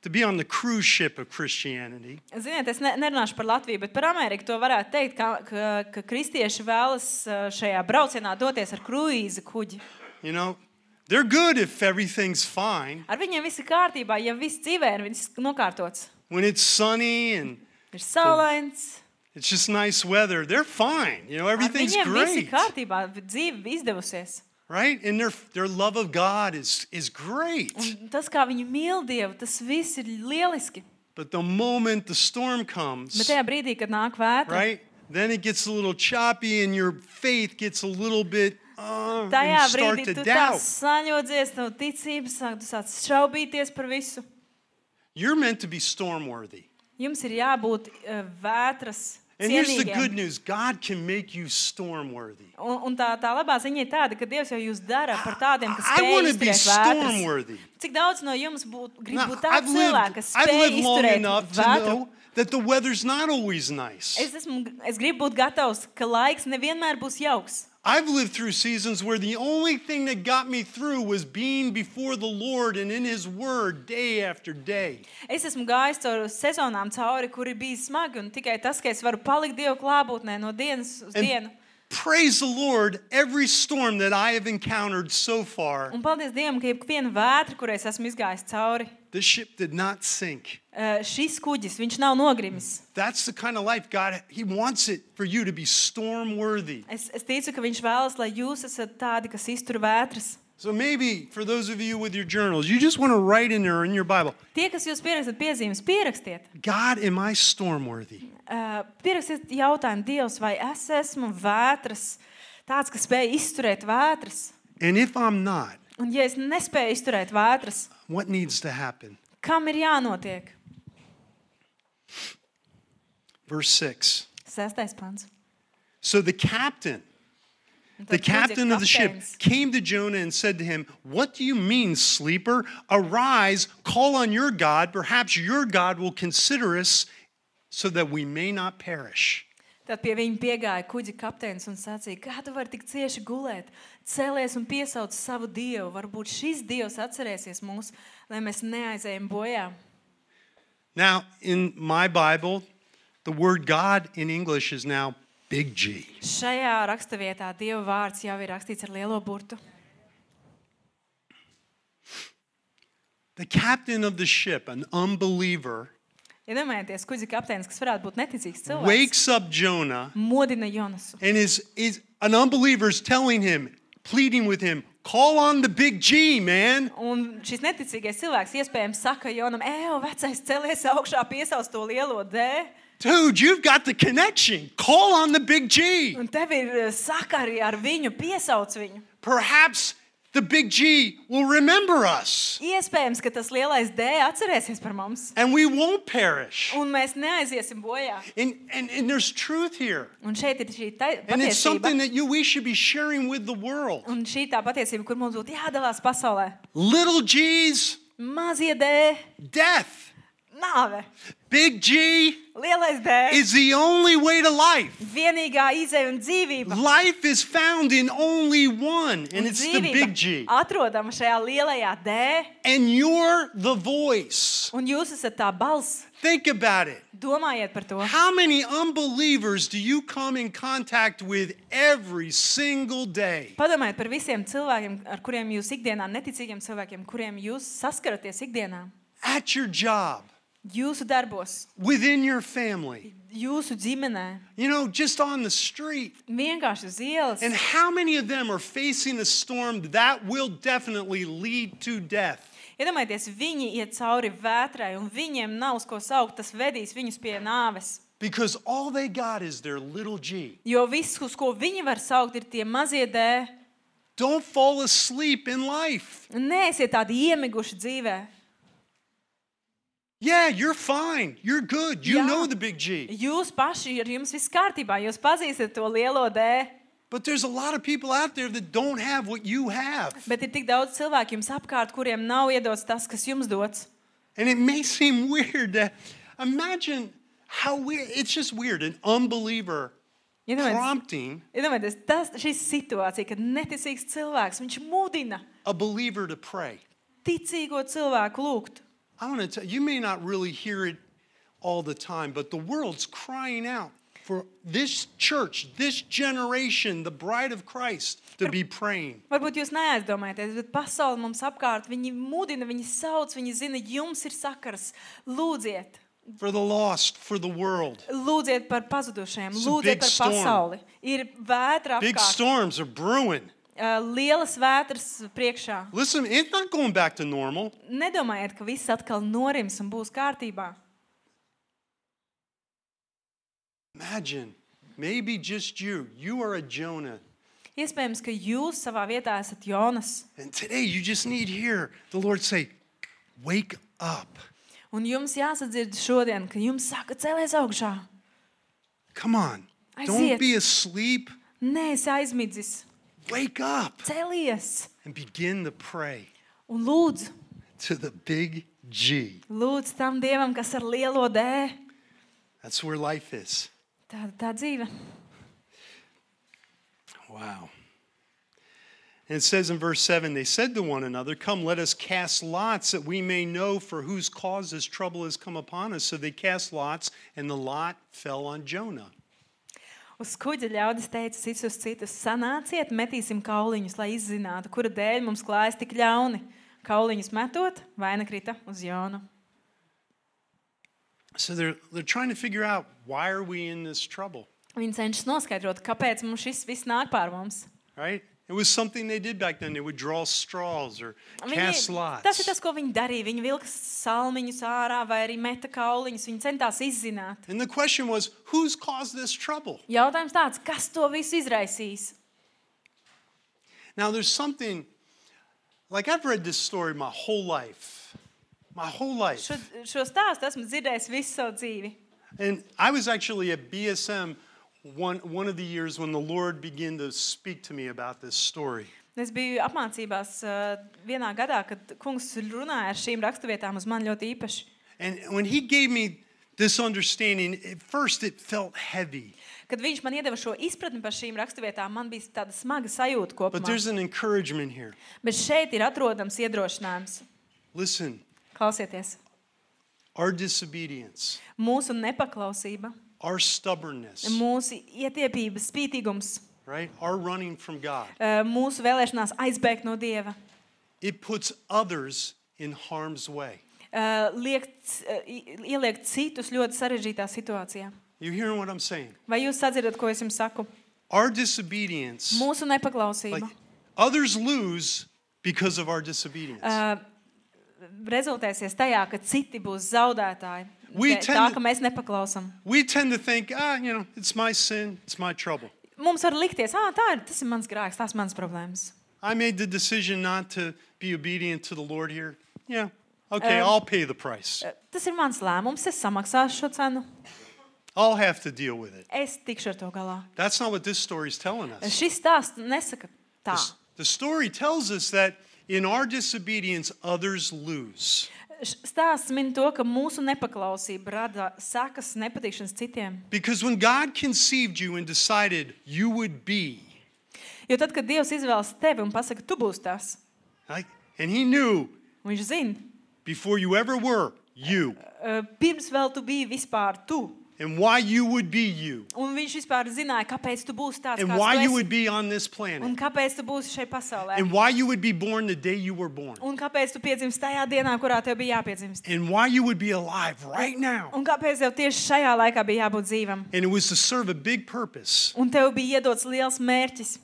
B: to be on the cruise ship of Christianity.
C: Ziniet, es ne, nerunāšu par Latviju, bet par Ameriku to varētu teikt, ka, ka, ka kristieši vēlas eh, šajā braucienā doties ar kruīzi kuģi.
B: You know, they're good if everything's fine.
C: Ar viņiem viss ir kārtībā, ja viss dzīvē ir viss nokārtots.
B: When it's sunny and
C: Ir saulains,
B: it's just nice weather, they're fine. You know,
C: ar
B: everything's
C: viņiem viss ir
B: great,
C: kārtībā, dzīve izdevusies.
B: right? And their their love of God is is great.
C: Un tas, kā viņi mīl Dievu, tas viss ir lieliski.
B: But the moment the storm
C: Bet
B: comes,
C: tajā brīdī, kad nāk vētra,
B: right? Then it gets a little choppy, and your faith gets a little bit. Uh, and
C: tajā
B: you start
C: brīdī
B: to
C: tu tā
B: doubt.
C: saņodzies, tev ticības sāk, tu sāc šaubīties par visu.
B: You're meant to be storm worthy.
C: Jums ir jābūt eh, vētras.
B: And here's the
C: cienīgiem.
B: good news God can make you storm worthy.
C: Un, un tā, tā labā ziņa ir tāda, ka Dievs jau jūs dara par tādiem, kas
B: I
C: spēj
B: want to be
C: izturēt
B: storm
C: vētras.
B: worthy.
C: Cik daudz no jums būtu grib
B: Now, I've
C: būt tāds cilvēks,
B: lived,
C: kas
B: I've
C: spēj
B: lived long
C: izturēt
B: enough to
C: vētru?
B: know that the weather's not always nice.
C: Es, esmu, es gribu būt gatavs, ka laiks nevienmēr būs jauks.
B: I've lived through seasons where the only thing that got me through was being before the Lord and in His Word day after day.
C: Es esmu gājis cauri sezonām, cauri, kur ir bijis smagi, un tikai tas, ka es varu palikt Dieva klātbūtnē no dienas uz
B: And
C: dienu.
B: praise the Lord, every storm that I have encountered so far,
C: Un paldies Dievam, ka jebkāda vētra, kurai es esmu izgājis cauri,
B: the ship did not sink.
C: eh, šis kuģis, viņš nav nogrimis.
B: That's the kind of life God, He wants it for you to be storm worthy.
C: Es, es ticu, ka viņš vēlas, lai jūs esat tādi, kas iztur vētras.
B: So maybe for those of you with your journals, you just want to write in there in your Bible,
C: Tie, kas jūs pierakstat piezīmes, pierakstiet.
B: God, am I storm worthy?
C: Uh, pierakstiet jautājumu Dievs, vai es esmu vētras, tāds, kas spēj izturēt vētras.
B: And if I'm not,
C: Un, ja es nespēju izturēt vētras,
B: what needs to happen?
C: kam ir jānotiek?
B: Verse 6.
C: Sestais pants.
B: So the captain,
C: Un
B: the
C: tad lūdzu,
B: captain of the ship
C: kapteinis.
B: came to Jonah and said to him, What do you mean, sleeper? Arise, call on your God. Perhaps your God will consider us so that we may not perish.
C: Tad pie viņa piegāja kuģa kapteinis un sacīja, kā tu vari tik cieši gulēt? Cēlies un piesauc savu dievu. Varbūt šis dievs atcerēsies mūs, lai mēs neaizējām bojā.
B: Now, in my Bible, the word God in English is now big G.
C: Šajā raksturvietā dieva vārds jau ir rakstīts ar lielo burtu.
B: The captain of the ship, an unbeliever,
C: Iedomājieties, ja kuģa kapteinis, kas varētu būt neticīgs cilvēks,
B: wakes up Jonah
C: modina Jonasu.
B: and is, is an unbeliever is telling him, pleading with him, call on the big G, man.
C: Un šis neticīgais cilvēks iespējams saka Jonam, ej, vecais, celies augšā, piesauc to lielo dēlu.
B: Dude, you've got the connection. Call on the big G.
C: Un tev ir eh, sakari ar viņu, piesauc viņu.
B: Perhaps the big G will remember us
C: Iespējams, ka tas lielais D atcerēsies par mums,
B: and we won't perish.
C: un mēs neaiziesim bojā.
B: And, and, and there's truth here.
C: Un šeit ir šī tai-
B: And it's something
C: patiesība.
B: that you we should be sharing with the world.
C: Un šī tā patiesība, kur mums būtu jādalās pasaulē.
B: Little G's,
C: Mazie D,
B: death.
C: Nāve,
B: Big G
C: lielais dēļ,
B: is the only way to life.
C: vienīgā izēja un dzīvība.
B: Life is found in only one, and
C: Un
B: it's the big G.
C: atrodama šajā lielajā D,
B: And you're the voice.
C: un jūs esat tā balss.
B: Think about it.
C: Domājiet par to.
B: Uh-huh. How many unbelievers do you come in contact with every single day?
C: Padomājiet par visiem cilvēkiem, ar kuriem jūs ikdienā, neticīgiem cilvēkiem, kuriem jūs saskaraties ikdienā,
B: At your job,
C: jūsu darbos,
B: within your family,
C: jūsu ģimenē,
B: you know, just on the street.
C: vienkārši uz ielas.
B: And how many of them are facing a storm that will definitely lead to death?
C: Iedomājieties, viņi iet cauri vētrai, un viņiem nav uz ko saukt. Tas vedīs viņus pie nāves.
B: Because all they got is their little g.
C: Jo viss, uz ko viņi var saukt, ir tie mazie dēļi.
B: Don't fall asleep in life.
C: Nē, esiet tādi iemiguši dzīvē.
B: Yeah, you're fine. You're good. You
C: Yeah.
B: know the big G.
C: Jūs paši ar jums viss kārtībā, jūs pazīstat to lielo dēļu.
B: But there's a lot of people out there that don't have what you have.
C: Bet ir tik daudz cilvēku jums apkārt, kuriem nav iedots tas, kas jums dots.
B: And it may seem weird to imagine how weird. It's just weird. An unbeliever
C: Iedomājieties,
B: prompting
C: iedomājieties, tas ir situācija, kad neticīgs cilvēks viņš mudina
B: a believer to pray.
C: ticīgo cilvēku lūgt.
B: I want to tell you may not really hear it all the time, but the world's crying out for this church, this generation, the bride of Christ, to be praying.
C: Varbūt jūs neaizdomājaties, bet pasaule mums apkārt viņi mudina, viņi sauc, viņi zina, jums ir sakars. Lūdziet,
B: for the lost, for the world.
C: lūdziet par pazudušajiem,
B: It's a big
C: lūdziet par
B: storm.
C: pasauli. Ir vētra
B: Big
C: apkārt,
B: storms are brewing.
C: uh, lielas vētras priekšā.
B: Listen, it's not going back to normal.
C: Nedomājiet, ka viss atkal norims un būs kārtībā.
B: Imagine, maybe just you. You are a Jonah.
C: Iespējams, ka jūs savā vietā esat Jonas.
B: And today you just need to hear the Lord say, Wake up.
C: Un jums jāsadzird šodien, ka jums saka, celies augšā.
B: Come on.
C: I see
B: Don't
C: it.
B: be asleep.
C: Nē, es aizmidzis,
B: Wake up
C: celies
B: and begin to pray
C: un lūdzu.
B: to the big G.
C: Lūdzu tam dievam, kas ar lielo dēlu.
B: That's where life is.
C: Tāda tā dzīve.
B: Wow. And it says in verse 7 they said to one another, Come, let us cast lots that we may know for whose cause this trouble has come upon us. So they cast lots, and the lot fell on Jonah.
C: Uz kuģa ļaudis teica cits uz citu: Sanāciet, metīsim kauliņus, lai izzinātu, kura dēļ mums klājas tik ļauni. Kauliņus metot, vaina krita uz Jonu.
B: So they're, they're trying to figure out why are we in this trouble,
C: Viņi cenšas noskaidrot, kāpēc mums šis viss nāk pār mums.
B: right? It was something they did back then. They would draw straws or cast lots.
C: tas ir tas, ko viņi darīja. Viņi vilka salmiņus ārā vai arī meta kauliņus. Viņi centās izzināt.
B: And the question was, who's caused this trouble?
C: Jautājums tāds, kas to visu izraisīs?
B: Now, there's something, like I've read this story my whole life. My whole life.
C: Šo, šo stāstu esmu dzirdējis visu savu dzīvi.
B: And I was actually at BSM one, one of the years when the Lord began to speak to me about this story.
C: Es biju apmācībās eh, vienā gadā, kad kungs runāja ar šīm raksturvietām uz mani ļoti īpaši.
B: And when he gave me this understanding, at first it felt heavy,
C: Kad viņš man iedeva šo izpratni par šīm raksturvietām, man bija tāda smaga sajūta
B: but
C: kopumā.
B: there's an encouragement here.
C: Bet šeit ir atrodams iedrošinājums.
B: Listen,
C: Klausieties,
B: our disobedience,
C: mūsu nepaklausība,
B: our stubbornness,
C: mūsu ietiepība, spītīgums,
B: right? Our running from God,
C: eh, mūsu vēlēšanās aizbēgt no dieva,
B: it puts others in harm's way.
C: eh, liek, c- eh, i- ieliek citus ļoti sarežģītā situācijā.
B: You hearing what I'm saying?
C: Vai jūs sadzirdat, ko es jums saku?
B: Our disobedience,
C: Mūsu
B: like
C: nepaklausība.
B: others lose because of our disobedience.
C: Uh, rezultēsies tajā, ka citi būs zaudētāji.
B: We
C: Dē-
B: tend
C: Tā,
B: to-
C: ka mēs nepaklausām.
B: we tend to think, ah, you know, it's my sin, it's my trouble.
C: Mums var likties, ah, tā ir, tas ir mans grēks, tās ir manas problēmas.
B: I made the decision not to be obedient to the Lord here. Yeah, okay, I'll pay the price.
C: Um, Uh, Tas ir mans lēmums, es samaksāšu šo cenu.
B: I'll have to deal with it.
C: Es tikšu ar to galā.
B: That's not what this story is telling us.
C: Šis stāsts nesaka tā.
B: The story tells us that in our disobedience, others lose.
C: Š- Stāsts min to, ka mūsu nepaklausība rada sekas nepatīšanas citiem.
B: Because when God conceived you and decided you would be,
C: Jo tad, kad Dievs izvēlas tevi un pasaka, tu būsi tas,
B: like, and He knew
C: un viņš zina,
B: before you ever were you
C: eh, pirms vēl tu biji vispār tu,
B: and why you would be you
C: un viņš vispār zināja, kāpēc tu būsi tāds,
B: and
C: kāds
B: why
C: tu
B: you
C: esi,
B: would be on this
C: un
B: planet
C: kāpēc tu būsi šeit pasaulē,
B: and why you would be born the day you were born
C: un kāpēc tu piedzimsti tajā dienā, kurā tev bija jāpiedzimst,
B: and why you would be alive right now.
C: un kāpēc tev tieši šajā laikā bija jābūt dzīvam.
B: And it was to serve a big purpose,
C: Un tev bija iedots liels mērķis,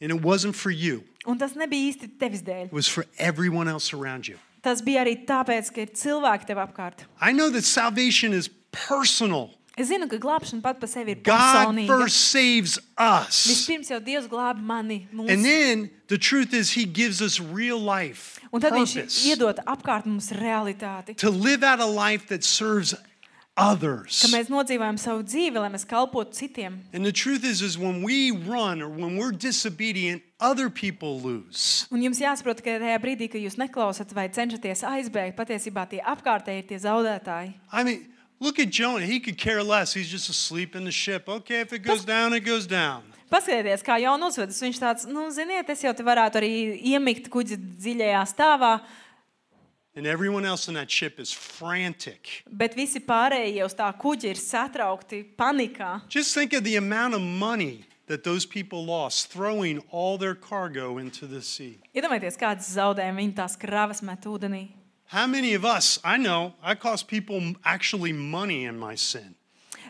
B: and it wasn't for you,
C: un tas nebija īsti tevis
B: it
C: dēļ.
B: was for everyone else around you.
C: Tas bija arī tāpēc, ka ir cilvēki tev apkārt.
B: I know that salvation is personal.
C: Es zinu, ka glābšana pat par sevi ir
B: God
C: personīga.
B: first saves us.
C: Vispirms jau Dievs glāba mani,
B: And
C: mūs,
B: then the truth is, He gives us real life
C: un tad Viņš
B: purpose
C: iedod apkārt mums realitāti.
B: to live out a life that serves
C: Ka
B: others.
C: mēs nodzīvojam savu dzīvi, lai mēs kalpotu citiem.
B: And the truth is, is when we run or when we're disobedient, other people lose.
C: Un jums jāsaprot, ka tajā brīdī, kad jūs neklausāt vai cenšaties aizbēgt, patiesībā tie apkārtēji ir tie zaudētāji.
B: I mean, look at Jonah. He could care less. He's just asleep in the ship. Okay, if it goes down, it goes down.
C: Paskatieties, kā jau nosvedas. Viņš tāds, nu, ziniet, es jau te varētu arī iemigt kuģi dziļajā stāvā,
B: And everyone else in that ship is frantic.
C: bet visi pārējie uz tā kuģa ir satraukti, panikā.
B: Just think of the amount of money that those people lost throwing all their cargo into the sea.
C: Iedomājieties, kādas zaudējumus viņi tās kravas met ūdenī.
B: How many of us, I know, I cost people m- actually money in my sin.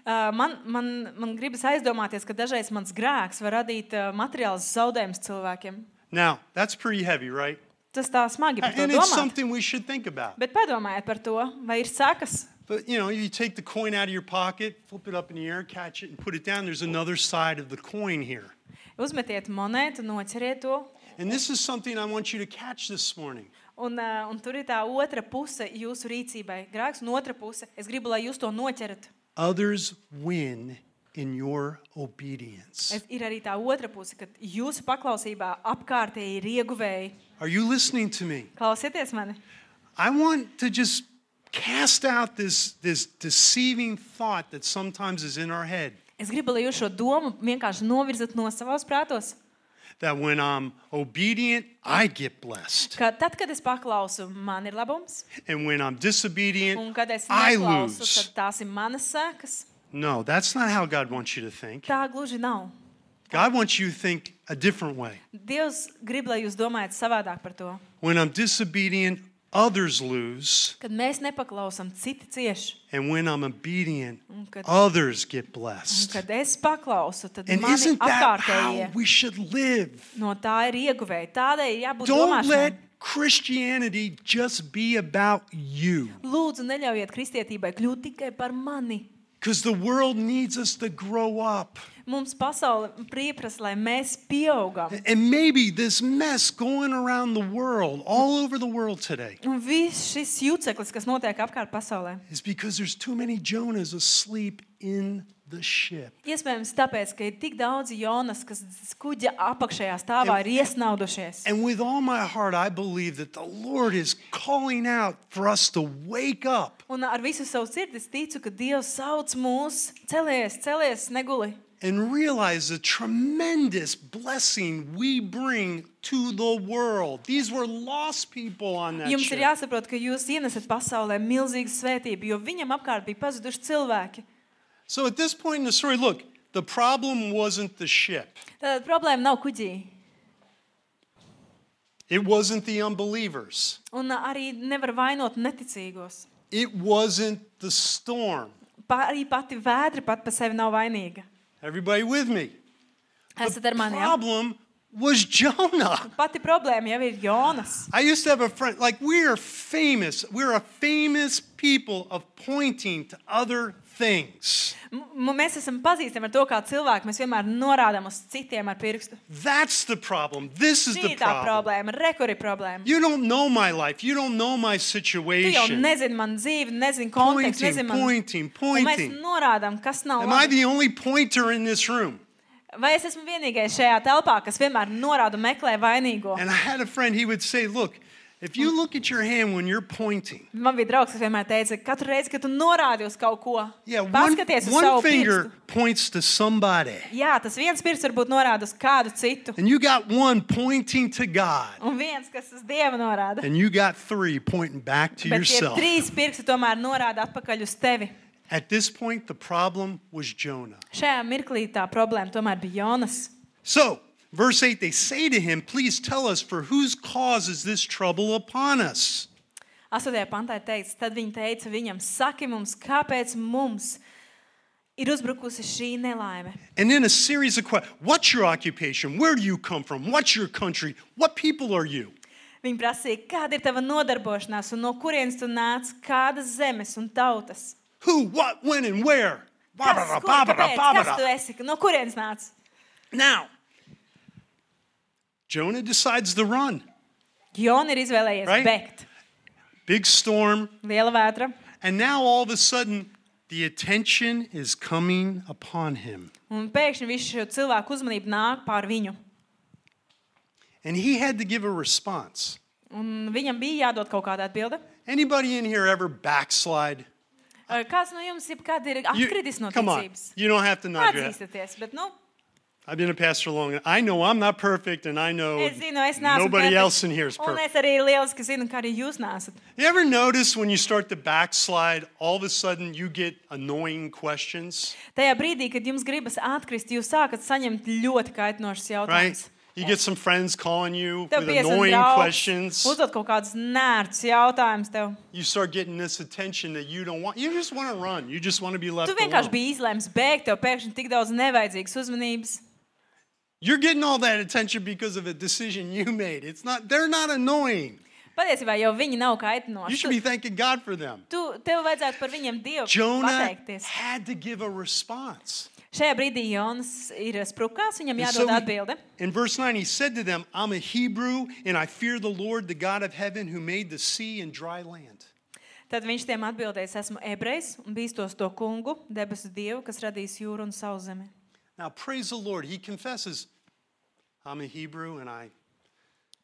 C: Uh, Man, man, man gribas aizdomāties, ka dažreiz mans grēks var radīt uh, materiālus zaudējumus cilvēkiem.
B: Now, that's pretty heavy, right?
C: Tas tā smagi par to
B: And it's
C: domāt.
B: something we should think about.
C: Bet padomājiet par to, vai ir sekas.
B: But you know, you take the coin out of your pocket, flip it up in the air, catch it, and put it down. There's another side of the coin here.
C: Uzmetiet monētu, noķeriet to.
B: And this is something I want you to catch this morning.
C: Un, uh, un tur ir tā otra puse jūsu rīcībai. Grēks un otra puse. Es gribu, lai jūs to noķerat.
B: Others win in your obedience.
C: Es, ir arī tā otra puse, ka jūsu paklausībā apkārtēji ir ieguvēji.
B: Are you listening to me?
C: Klausieties mani!
B: I want to just cast out this, this deceiving thought that sometimes is in our head.
C: Es gribu, lai jūs šo domu vienkārši novirzat no savas prātos.
B: that when I'm obedient, I get blessed.
C: Ka tad, kad es paklausu, man ir labums,
B: And when I'm
C: un
B: disobedient,
C: kad es
B: I
C: neklausu,
B: lose.
C: tad tās ir manas sekas.
B: No, that's not how God wants you to think.
C: Tā gluži nav.
B: God wants you to think a different way.
C: Dievs grib, lai jūs domājat savādāk par to.
B: When I'm disobedient, others lose.
C: Kad mēs nepaklausām, citi cieši.
B: And when I'm obedient,
C: Kad,
B: others get
C: un
B: blessed.
C: kad es paklausu, tad
B: And
C: mani
B: isn't that how
C: apkārtējie
B: we should live?
C: no tā ir ieguvēji. Tādai ir jābūt
B: Don't let
C: domāšanai.
B: Christianity just be about you.
C: Lūdzu, neļaujiet kristietībai kļūt tikai par mani.
B: Because the world needs us to grow up.
C: Mums pasaule pieprasa, lai mēs pieaugam.
B: And maybe this mess going around the world, all over the world today,
C: Un viss šis jūceklis, kas notiek apkārt pasaulē,
B: is because there's too many Jonahs asleep in the ship.
C: iespējams tāpēc, ka ir tik daudz jonas, kas z- kuģa apakšējā stāvā ir iesnaudušies.
B: And with all my heart, I believe that the Lord is calling out for us to wake up
C: Un ar visu savu sirdi es ticu, ka Dievs sauc mūs, celies, celies, neguli.
B: and realize the tremendous blessing we bring to the world. These were lost people on that
C: Jums
B: ship.
C: ir jāsaprot, ka jūs ienesat pasaulē milzīgu svētību, jo viņam apkārt bija pazuduši cilvēki.
B: So at this point in the story, look, the problem wasn't the ship,
C: Tātad problēma nav kuģī.
B: it wasn't the unbelievers,
C: Un ā, arī nevar vainot neticīgos.
B: it wasn't the storm.
C: Pa, arī pati vētra pat par sevi nav vainīga.
B: Everybody with me?
C: Esat ar mani? Ja?
B: Problem was Jonah.
C: Pati problēma jau ir Jonas.
B: I used to have a friend, like, we are famous. We're a famous people of pointing to other things.
C: M m- mēs esam pazīstami ar to, kā cilvēki mēs vienmēr norādām uz citiem ar pirkstu.
B: That's the problem. This is
C: Šī
B: the
C: ir tā
B: problem.
C: problēma, rekuri problēma.
B: You don't know my life. You don't know my
C: Tu jau
B: situation.
C: nezini man dzīvi, nezini kontekstu,
B: Pointing,
C: nezini man.
B: pointing,
C: Un mēs
B: pointing.
C: Nu, norādām, kas nav
B: Am I
C: labi.
B: the only pointer in this room?
C: Vai es esmu vienīgais šajā telpā, kas vienmēr norāda un meklē vainīgo?
B: And I had a friend, he would say, Look, If you look at your hand when you're pointing,
C: Man bija draugs, kas vienmēr teica, ka katru reizi, kad tu norādi uz kaut ko,
B: yeah, one,
C: paskaties uz
B: one
C: savu
B: finger
C: pirkstu.
B: points to somebody,
C: Jā, tas viens pirksts varbūt norāda uz kādu citu,
B: and you got one pointing to God,
C: un viens, kas uz dievu norāda.
B: and you got three pointing back to
C: Bet tie
B: yourself.
C: trīs pirksti tomēr norāda atpakaļ uz tevi.
B: At this point, the problem was Jonah.
C: Šajā mirklī tā problēma tomēr bija Jonas.
B: So, verse 8, they say to him, Please tell us for whose cause is this trouble upon us?
C: 8. pantā ir teikts, tad viņi teica viņam, saki mums, kāpēc mums ir uzbrukusi šī nelaime.
B: And then a series of questions What's your occupation? Where do you come from? What's your country? What people are you?
C: Viņi prasīja, kāda ir tava nodarbošanās, un no kurienes tu nāc, kādas zemes un tautas.
B: Who, what, when, and where? Ba,
C: Kas,
B: ba,
C: ko,
B: ba, ba, ba,
C: kāpēc,
B: ba,
C: kas tu
B: ba.
C: esi? No kurienes nāc?
B: Now, Jonah decides to run.
C: Jona ir izvēlējies
B: Right?
C: right? bēgt.
B: Big storm.
C: Liela vētra.
B: And now all of a sudden, the attention is coming upon him.
C: Un pēkšņi visu šo cilvēku uzmanību nāk pār viņu.
B: And he had to give a response.
C: Un viņam bija jādod kaut kāda atbilde.
B: Anybody in here ever backslide?
C: Ā, Kāds no jums jebkad ir
B: You-
C: atkritis no
B: come on.
C: ticības?
B: You don't have to nod your head.
C: Atzīstaties, bet nu,
B: I've been a pastor long. I know I'm not perfect, and I know
C: es zinu, es neesmu.
B: nobody
C: perfekts,
B: else in here is
C: Un
B: perfect.
C: es arī lieliski zinu, ka arī jūs nesat.
B: You ever notice when you start to backslide, all of a sudden you get annoying questions,
C: Tajā brīdī, kad jums gribas atkrist, jūs sākat saņemt ļoti kaitinošus
B: right?
C: jautājumus.
B: You get some friends calling you
C: Tev
B: with
C: piezvan
B: annoying
C: draugs,
B: questions.
C: uzdod kaut kādus nērts jautājumus tev.
B: You start getting this attention that you don't want. You just want to run. You just want to be left
C: Tu vienkārši
B: alone.
C: biji izlēms bēgt, tev pēkšņi tik daudz nevajadzīgas uzmanības.
B: You're getting all that attention because of a decision you made. It's not. They're not annoying.
C: Patiesībā jau viņi nav
B: You
C: kaitinoši.
B: should be thanking God for them.
C: Tu, tev vajadzētu par viņiem dievu
B: Jonah
C: pateikties.
B: had to give a response.
C: Šajā brīdī Jonas ir eh, sprukās, viņam
B: And
C: jādod
B: so he-
C: atbilde.
B: in verse 9, he said to them, I'm a Hebrew, and I fear the Lord, the God of heaven, who made the sea and dry land.
C: Tad viņš tiem atbildēs, esmu ebrejs un bīstos to kungu, debesu dievu, kas radīs jūru un sauszemi.
B: Now, praise the Lord. He confesses, I'm a Hebrew, and I,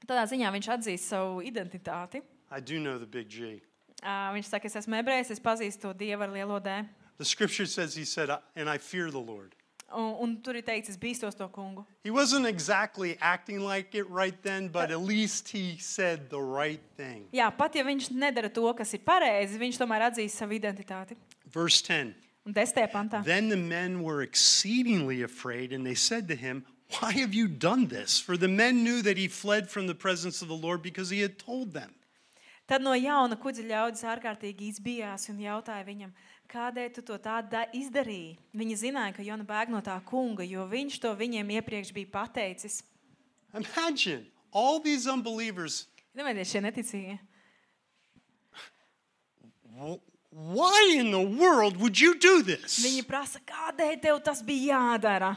C: Tādā ziņā viņš atzīst savu identitāti.
B: I do know the big G.
C: Ā, Viņš saka, es esmu ebrejs, es pazīstu to dievu ar lielo dēlu.
B: The scripture says, He said, and I fear the Lord.
C: Un, un tur ir teikts, es bīstos to kungu.
B: He wasn't exactly acting like it right then, but at least he said the right thing.
C: Jā, pat ja viņš nedara to, kas ir pareizi, viņš tomēr atzīst savu identitāti.
B: Verse 10
C: Un desmitā pantā.
B: Then the men were exceedingly afraid, and they said to him, Why have you done this? For the men knew that he fled from the presence of the Lord because he had told them.
C: Tad no jauna kuģa ļaudis ārkārtīgi izbijās un jautāja viņam, kādēļ tu to tā da- izdarīji. Viņi zināja, ka Jona bēg no tā kunga, jo viņš to viņiem iepriekš bija pateicis.
B: Imagine all these unbelievers.
C: Domājiet, šie neticīgi.
B: "Wh- Why in the world would you do this?
C: Viņi prasa, kādēļ tev tas bija jādara?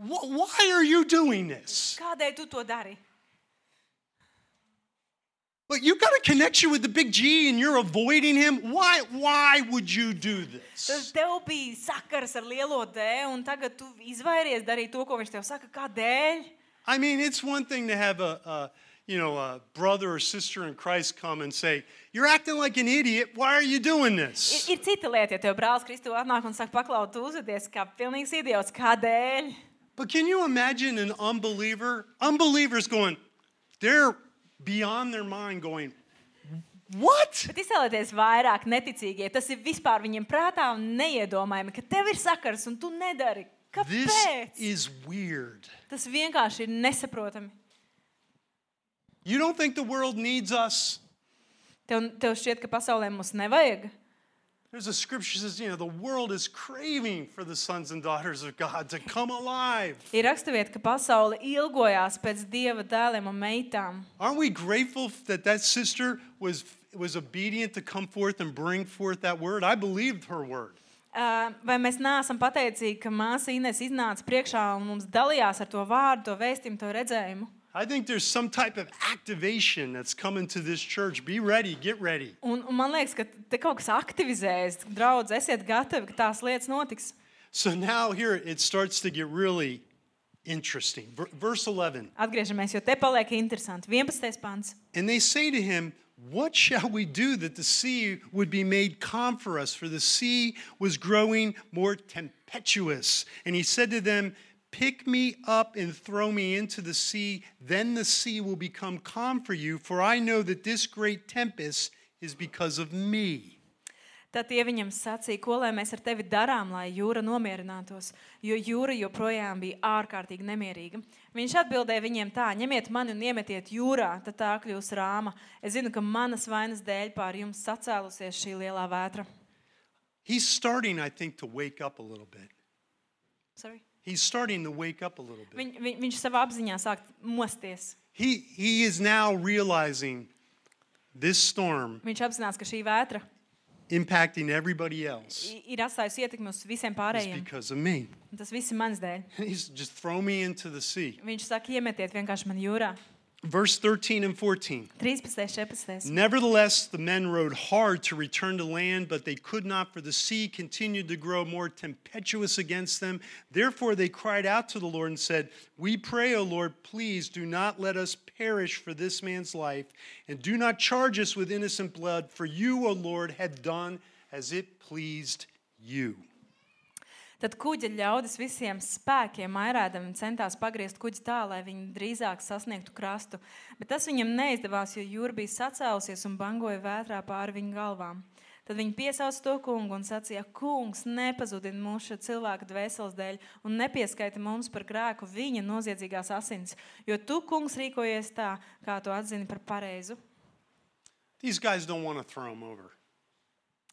B: Wh- Why are you doing this?
C: Kādēļ tu to dari?
B: But you've got a connection with the big G and you're avoiding him. Why, why would you do
C: Tas
B: this?
C: tev bija sakars ar lielo D, un tagad tu izvairies darīt to, ko viņš tev saka. Kādēļ?
B: I mean, it's one thing to have a, a you know, a brother or sister in Christ come and say, You're acting like an idiot. Why are you doing
C: Ir,
B: this?
C: ir cita lieta, ja tev brālis Kristus atnāk un saka, paklau, tu uzvedies kā pilnīgs idiots. Kādēļ?
B: But can you imagine an unbeliever? Unbelievers going, they're beyond their mind going, What?
C: Bet izsēlieties vairāk neticīgie. Tas ir vispār viņiem prātā un neiedomājami, ka tev ir sakars un tu nedari.
B: This
C: Kāpēc?
B: is weird.
C: Tas vienkārši ir nesaprotami.
B: You don't think the world needs us?
C: Tev, tev šķiet, ka pasaulē mums nevajag.
B: There's a scripture that says, you know, the world is craving for the sons and daughters of God to come alive.
C: Ir raksturvieta, ka pasaule ilgojās pēc dieva dēliem un meitām.
B: Aren't we grateful that that sister was, was obedient to come forth and bring forth that word? I believed her word.
C: Ā, Vai mēs neesam pateicīgi, ka māsa Inês iznāca priekšā un mums dalījās ar to vārdu, to vēstījumu, to redzējumu?
B: I think there's some type of activation that's coming to this church. Be ready, get ready.
C: Un, un man liekas, ka te kaut kas aktivizējas. Draudz, esiet gatavi, ka tās lietas notiks.
B: So now here it starts to get really Interesting. Ver- Verse 11.
C: Atgriežamies, jo te paliek interesanti. 11. pants.
B: And they say to him, What shall we do that the sea would be made calm for us? For the sea was growing more tempestuous. And he said to them, Pick me up and throw me into the sea, then the sea will become calm for you, for I know that this great tempest is because of me.
C: Tad tie viņam sacīja, ko lai mēs ar tevi darām, lai jūra nomierinātos, jo jūra joprojām bija ārkārtīgi nemierīga. Viņš atbildēja viņiem tā: ņemiet mani un iemetiet jūrā, tad tā kļūs rāma. Es zinu, ka manas vainas dēļ pār jums sacēlusies šī lielā vētra.
B: He's starting, I think, to wake up a little bit.
C: Sorry.
B: He's starting to wake up a little bit.
C: Viņ, viņ, viņš savā apziņā sāk mosties.
B: He, he is now realizing this storm
C: Viņš apzinās, ka šī vētra
B: impacting everybody else
C: i- ir atstājusi ietekmi uz visiem
B: is
C: pārējiem.
B: because of me.
C: Un Tas viss ir mans dēļ.
B: He's just throw me into the sea.
C: Viņš saka, iemetiet vienkārši man jūrā.
B: Verse 13 and 14. Mm.
C: 13, 14.
B: Nevertheless, the men rowed hard to return to land, but they could not, for the sea continued to grow more tempestuous against them. Therefore, they cried out to the Lord and said, We pray, O Lord, please do not let us perish for this man's life, and do not charge us with innocent blood, for you, O Lord, have done as it pleased you.
C: Tad kuģa ļaudis visiem spēkiem airēdami centās pagriezt kuģi tā, lai viņi drīzāk sasniegtu krastu, bet tas viņam neizdevās, jo jūra bija sacēlusies un bangoja vētrā pāri viņu galvām. Tad viņi piesauca to kungu un sacīja: Kungs, nepazudini mūsu šo cilvēku dvēseles dēļ un nepieskaiti mums par grēku viņa noziedzīgās asins, jo tu, kungs, rīkojies tā, kā tu atzini par pareizu.
B: These guys don't want to throw him over.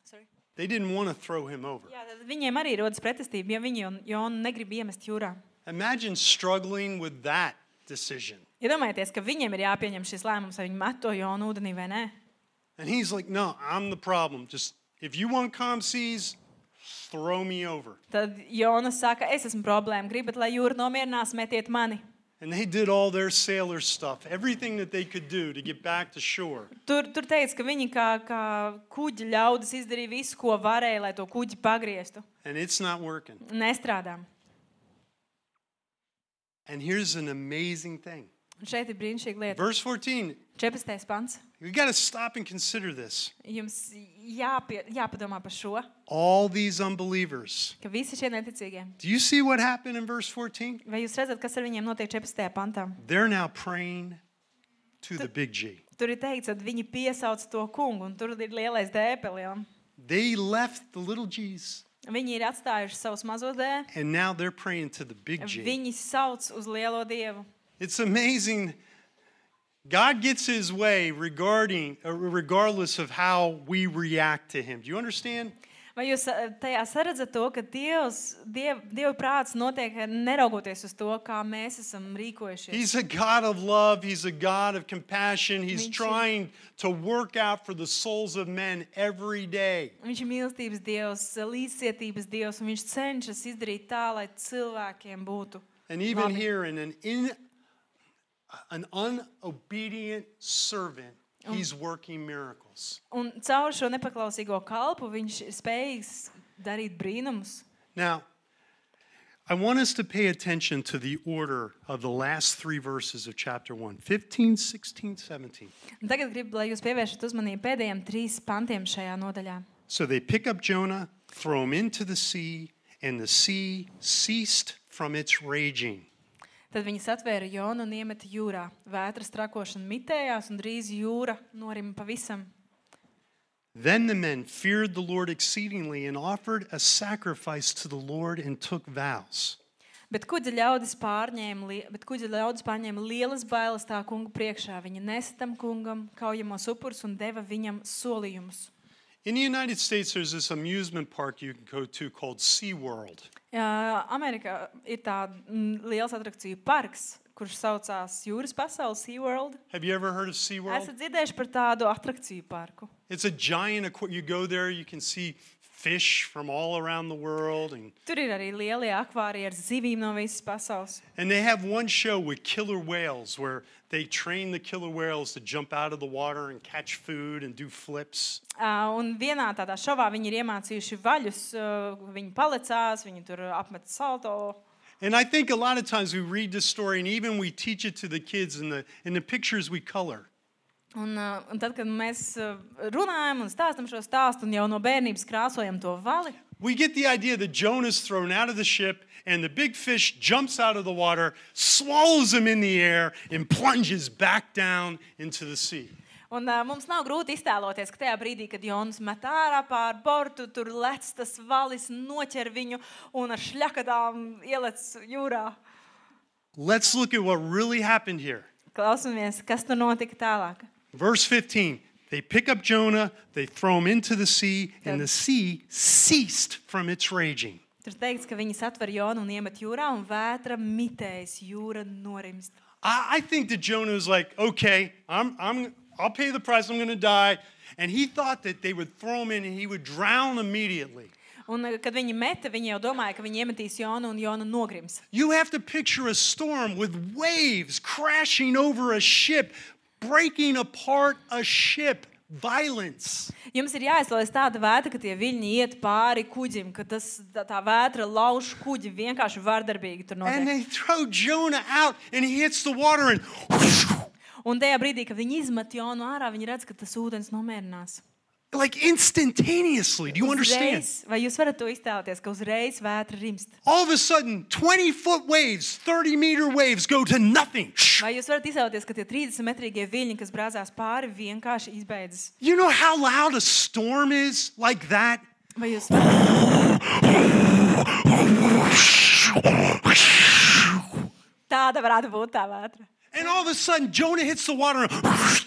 C: Sorry.
B: They didn't want to throw him over.
C: Jā, tad viņiem arī rodas pretestība, ja viņi Jon- Jonu negrib iemest jūrā.
B: Imagine struggling with that decision.
C: Iedomājieties, ka viņiem ir jāpieņem šis lēmums, vai viņi met to jonu ūdenī vai nē.
B: And he's like, No, I'm the problem. Just if you want calm seas, throw me over.
C: Tad Jonas saka, es esmu problēma, gribat, lai jūra nomierinās, metiet mani.
B: And they did all their sailor stuff, everything that they could do to get back to shore.
C: Tur, tur teica, ka viņi kā, kā kuģi ļaudis izdarīja visu, ko varēja, lai to kuģi pagrieztu.
B: And it's not working.
C: Nestrādām.
B: And here's an amazing thing.
C: Un šeit ir brīnišķīga lieta.
B: Verse 14,
C: 14. pants.
B: we got to stop and consider this.
C: Jums jāpie, jāpadomā par šo,
B: All these unbelievers.
C: ka visi šie neticīgie.
B: Do you see what happened in verse 14?
C: Vai jūs redzat, kas ar viņiem notiek 14. pantā?
B: They're now praying to the big G.
C: Tur ir teikts, ka viņi piesauc to kungu, un tur ir lielais dēpeliem.
B: They left the little G's
C: Viņi ir atstājuši savus mazos dēļus.
B: and now they're praying to the big G.
C: Viņi sauc uz lielo dievu.
B: It's amazing. God gets his way regarding, uh, regardless of how we react to him. Do you understand?
C: Vai jūs eh, tajā redzat to, ka Dievs, diev, Dieva prāts notiek eh, neraugoties uz to, kā mēs esam rīkojušies?
B: He's a God of love, he's a God of compassion. He's
C: Me too.
B: trying to work out for the souls of men every day.
C: Viņš ir mīlestības dievs, eh, līdzcietības dievs, un viņš cenšas izdarīt tā, lai cilvēkiem būtu.
B: And even
C: Love it.
B: here, in an, in, uh, an unobedient servant,
C: Um.
B: he's working miracles.
C: Un caur šo nepaklausīgo kalpu viņš ir spējīgs darīt brīnumus.
B: Now, I want us to pay attention to the order of the last three verses of chapter 1 15, 16, 17.
C: Un tagad gribu, lai jūs pievēršat uzmanību pēdējiem trim pantiem šajā nodaļā.
B: So they pick up Jonah, throw him into the sea, and the sea ceased from its raging.
C: Tad viņi atvēra jonu un iemeta jūrā. Vētras trakošana mitējās, un drīz jūra norima pavisam.
B: Then the men feared the Lord exceedingly and offered a sacrifice to the Lord and took vows.
C: Bet kuģa ļaudis pārņēma, li- bet kuģa ļaudis pārņēma lielas bailes tā kunga priekšā. Viņi nesa tam kungam kaujamos upurus un deva viņam solījumus.
B: In the United States, there's this amusement park you can go to called SeaWorld.
C: Jā, Amerikā ir tāds liels atrakciju parks, kurš saucās Jūras pasaules SeaWorld.
B: Have you ever heard of
C: Esat
B: SeaWorld?
C: dzirdējuši par tādu atrakciju parku?
B: It's a giant, aqua- you go there, you can see fish from all around the world. And,
C: Tur ir arī lielie akvāriji ar zivīm no visas pasaules.
B: and they have one show with killer whales where they train the killer whales to jump out of the water and catch food and do flips.
C: Uh, Un vienā tādā šovā viņi ir iemācījuši vaļus. uh, Viņi palicās, viņi tur apmet salto.
B: And I think a lot of times we read this story and even we teach it to the kids in the, in the pictures we color.
C: Un, uh, un tad, kad mēs uh, runājam un stāstām šo stāstu, un jau no bērnības krāsojam to vali,
B: We get the idea that Jonah's thrown out of the ship and the big fish jumps out of the water, swallows him in the air, and plunges back down into the sea.
C: Un, uh, mums nav grūti iztēloties, ka tajā brīdī, kad Jonas met ārā pāri bortu, tur lec tas valis, noķer viņu un ar šļakadām ielec jūrā.
B: Let's look at what really happened here.
C: Klausamies, kas tur notika tālāk.
B: Verse 15 They pick up Jonah, they throw him into the sea, and
C: Yeah.
B: the sea ceased from its raging.
C: Tur teikts, ka viņi satver Jonu un iemet jūrā, un vētra mitējas, jūra norimst.
B: I, I think that Jonah was like, okay, I'm, I'm, I'll pay the price, I'm going to die. And he thought that they would throw him in and he would drown immediately.
C: Un, uh, kad viņi meta, viņi jau domāja, ka viņi iemetīs Jonu un Jona nogrims.
B: You have to picture a storm with waves crashing over a ship, breaking apart a ship, violence.
C: Jums ir jāizlaiž tāda vētra, ka tie viļņi iet pāri kuģim, ka tas, tā, tā vētra lauž kuģi vienkārši vardarbīgi. Tur notiek.
B: And they throw Jonah out and he hits the water and
C: Un tajā brīdī, kad viņi izmet Jonu ārā, viņi redz, ka tas ūdens nomierinās.
B: like instantaneously. Do you understand?
C: Uzreiz, vai jūs varat to iztēloties, ka uzreiz vētra rimst?
B: All of a sudden, 20 foot waves, 30 meter waves go to nothing.
C: Vai jūs varat iztēloties, ka tie 30 metrīgie viļņi, kas brāzās pāri, vienkārši izbeidzas?
B: You know how loud a storm is like that?
C: Vai jūs, tāda varētu būt tā vētra.
B: And all of a sudden, Jonah hits the water. and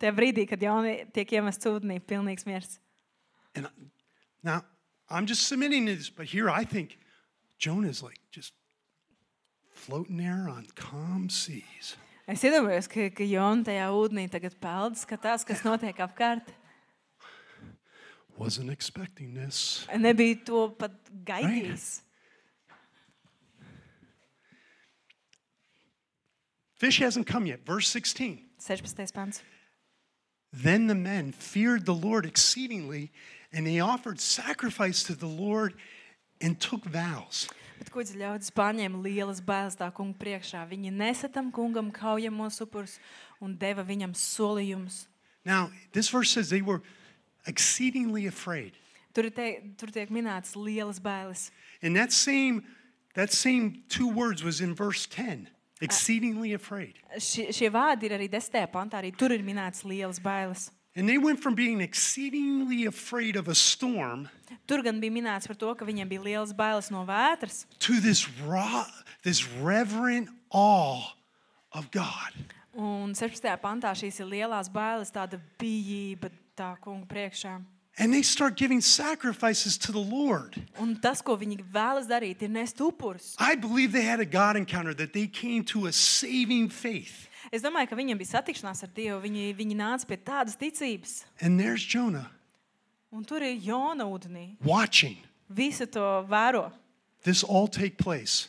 C: Tajā brīdī, kad Joni tiek iemests ūdenī, pilnīgs miers.
B: And I- now I'm just submitting to this, but here I think Jonah's like just floating there on calm seas.
C: Es iedomājos, ka, ka Jona tajā ūdenī tagad peld, skatās, kas notiek apkārt.
B: Wasn't expecting this.
C: Nebija to pat gaidījis.
B: Fish hasn't come yet. Verse 16.
C: 16. pants.
B: Then the men feared the Lord exceedingly, and they offered sacrifice to the Lord and took vows.
C: Bet kuģi ļaudis pārņēma lielas bailes tā kunga priekšā. Viņi nesatam kungam kaujamos upurus un deva viņam solījumus.
B: Now, this verse says they were exceedingly afraid.
C: Tur, ir te, tur tiek minētas lielas bailes.
B: And that same, that same two words was in verse 10 exceedingly afraid.
C: Šie, šie vārdi ir arī desmitajā pantā, arī tur ir minētas lielas bailes.
B: And they went from being exceedingly afraid of a storm
C: Tur gan bija minēts par to, ka viņiem bija lielas bailes no vētras,
B: to this raw, this reverent awe of God.
C: un 16. pantā šīs ir lielās bailes, tāda bijība tā kunga priekšā.
B: And they start giving sacrifices to the Lord.
C: Un tas, ko viņi vēlas darīt, ir nest upurus.
B: I believe they had a God encounter that they came to a saving faith.
C: Es domāju, ka viņiem bija satikšanās ar Dievu. Viņi, viņi nāca pie tādas ticības.
B: And there's Jonah
C: Un tur ir Jona ūdenī.
B: watching
C: Visi to vēro.
B: this all take place.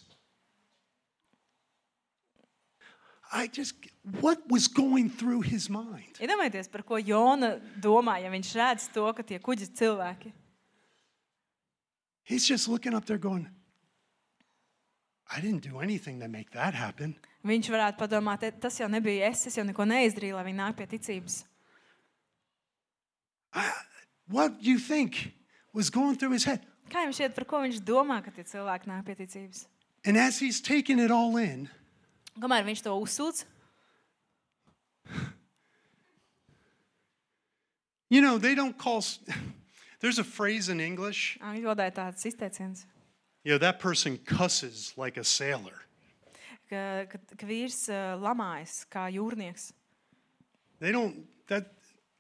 B: I just, what was going through his mind?
C: Iedomājieties, par ko Jona domā, ja viņš redz to, ka tie kuģi ir cilvēki.
B: He's just looking up there going, I didn't do anything to make that happen.
C: Viņš varētu padomāt, "E, tas jau nebija es, es jau neko neizdarīju, lai viņi nāk pie ticības.
B: What do you think was going through his head?
C: Kā jums šķiet, par ko viņš domā, ka tie cilvēki nāk pie ticības?
B: And as he's taking it all in,
C: Kamēr viņš to uzsūdz,
B: you know, they don't call, s- there's a phrase in English,
C: angļu valodā ir tāds izteiciens,
B: you know, that person cusses like a sailor.
C: ka, ka, ka vīrs eh, lamājas kā jūrnieks.
B: They don't, that,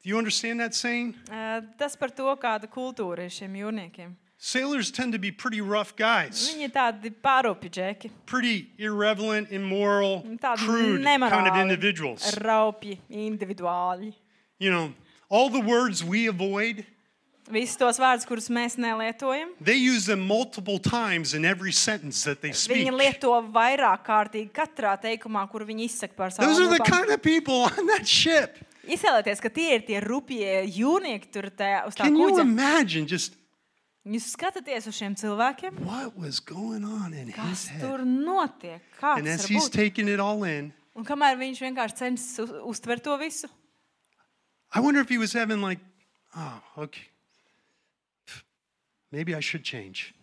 B: do you understand that saying?
C: Eh, Tas par to, kāda kultūra ir šiem jūrniekiem.
B: Sailors tend to be pretty rough guys,
C: Viņi ir tādi pāropi džeki.
B: pretty irreverent, immoral,
C: Tādi
B: crude kind of
C: nemorāli,
B: individuals.
C: Raupji, individuāli.
B: You know, all the words we avoid,
C: Visus tos vārdus, kurus mēs nelietojam,
B: They use them multiple times in every sentence that they speak.
C: viņi lieto vairāk kārtīgi katrā teikumā, kur viņi izsaka par savu
B: Those are the
C: darbu.
B: kind of people on that ship.
C: Izsēlieties, ka tie ir tie rupjie jūrnieki tur tajā, uz tā
B: Can you
C: kuģa.
B: imagine just
C: Jūs skatāties uz šiem cilvēkiem,
B: What was going on in his
C: kas
B: head?
C: tur notiek, kā
B: And as
C: tas
B: he's
C: ir.
B: taking it all in,
C: Un kamēr viņš vienkārši cenšas uz- uztvert to visu,
B: I wonder if he was having like, oh, okay, maybe I should change.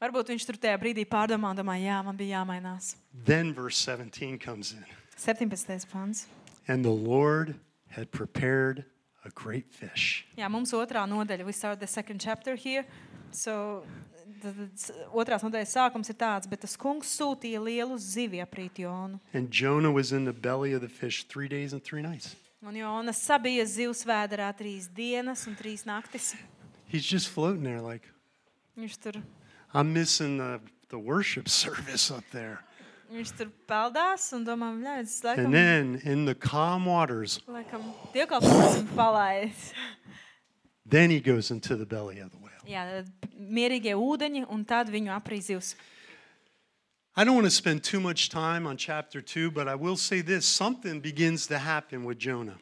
C: varbūt viņš tur tajā brīdī pārdomā un domā, jā, man bija jāmainās.
B: Then verse 17 comes in.
C: 17. pāns.
B: And the Lord had prepared a great fish.
C: Jā, mums otrā nodaļa. We start the second chapter here. So, tad, tad otrās nodaļas sākums ir tāds, bet tas kungs sūtīja lielu zivi aprīt Jonu.
B: And Jonah was in the belly of the fish three days and three nights.
C: Un Jona sabija zivs vēderā trīs dienas un trīs naktis.
B: He's just floating there, like,
C: Viņš tur,
B: I'm missing the, the worship service up there.
C: viņš tur peldās un domā, ka tas laikam,
B: And then in the calm waters,
C: laikam dievkalposim palaidis.
B: then he goes into the belly of the whale.
C: Jā, tad mierīgie ūdeņi un tad viņu aprīt zivs.
B: I don't want to spend too much time on chapter two, but I will say this something begins to happen with Jonah.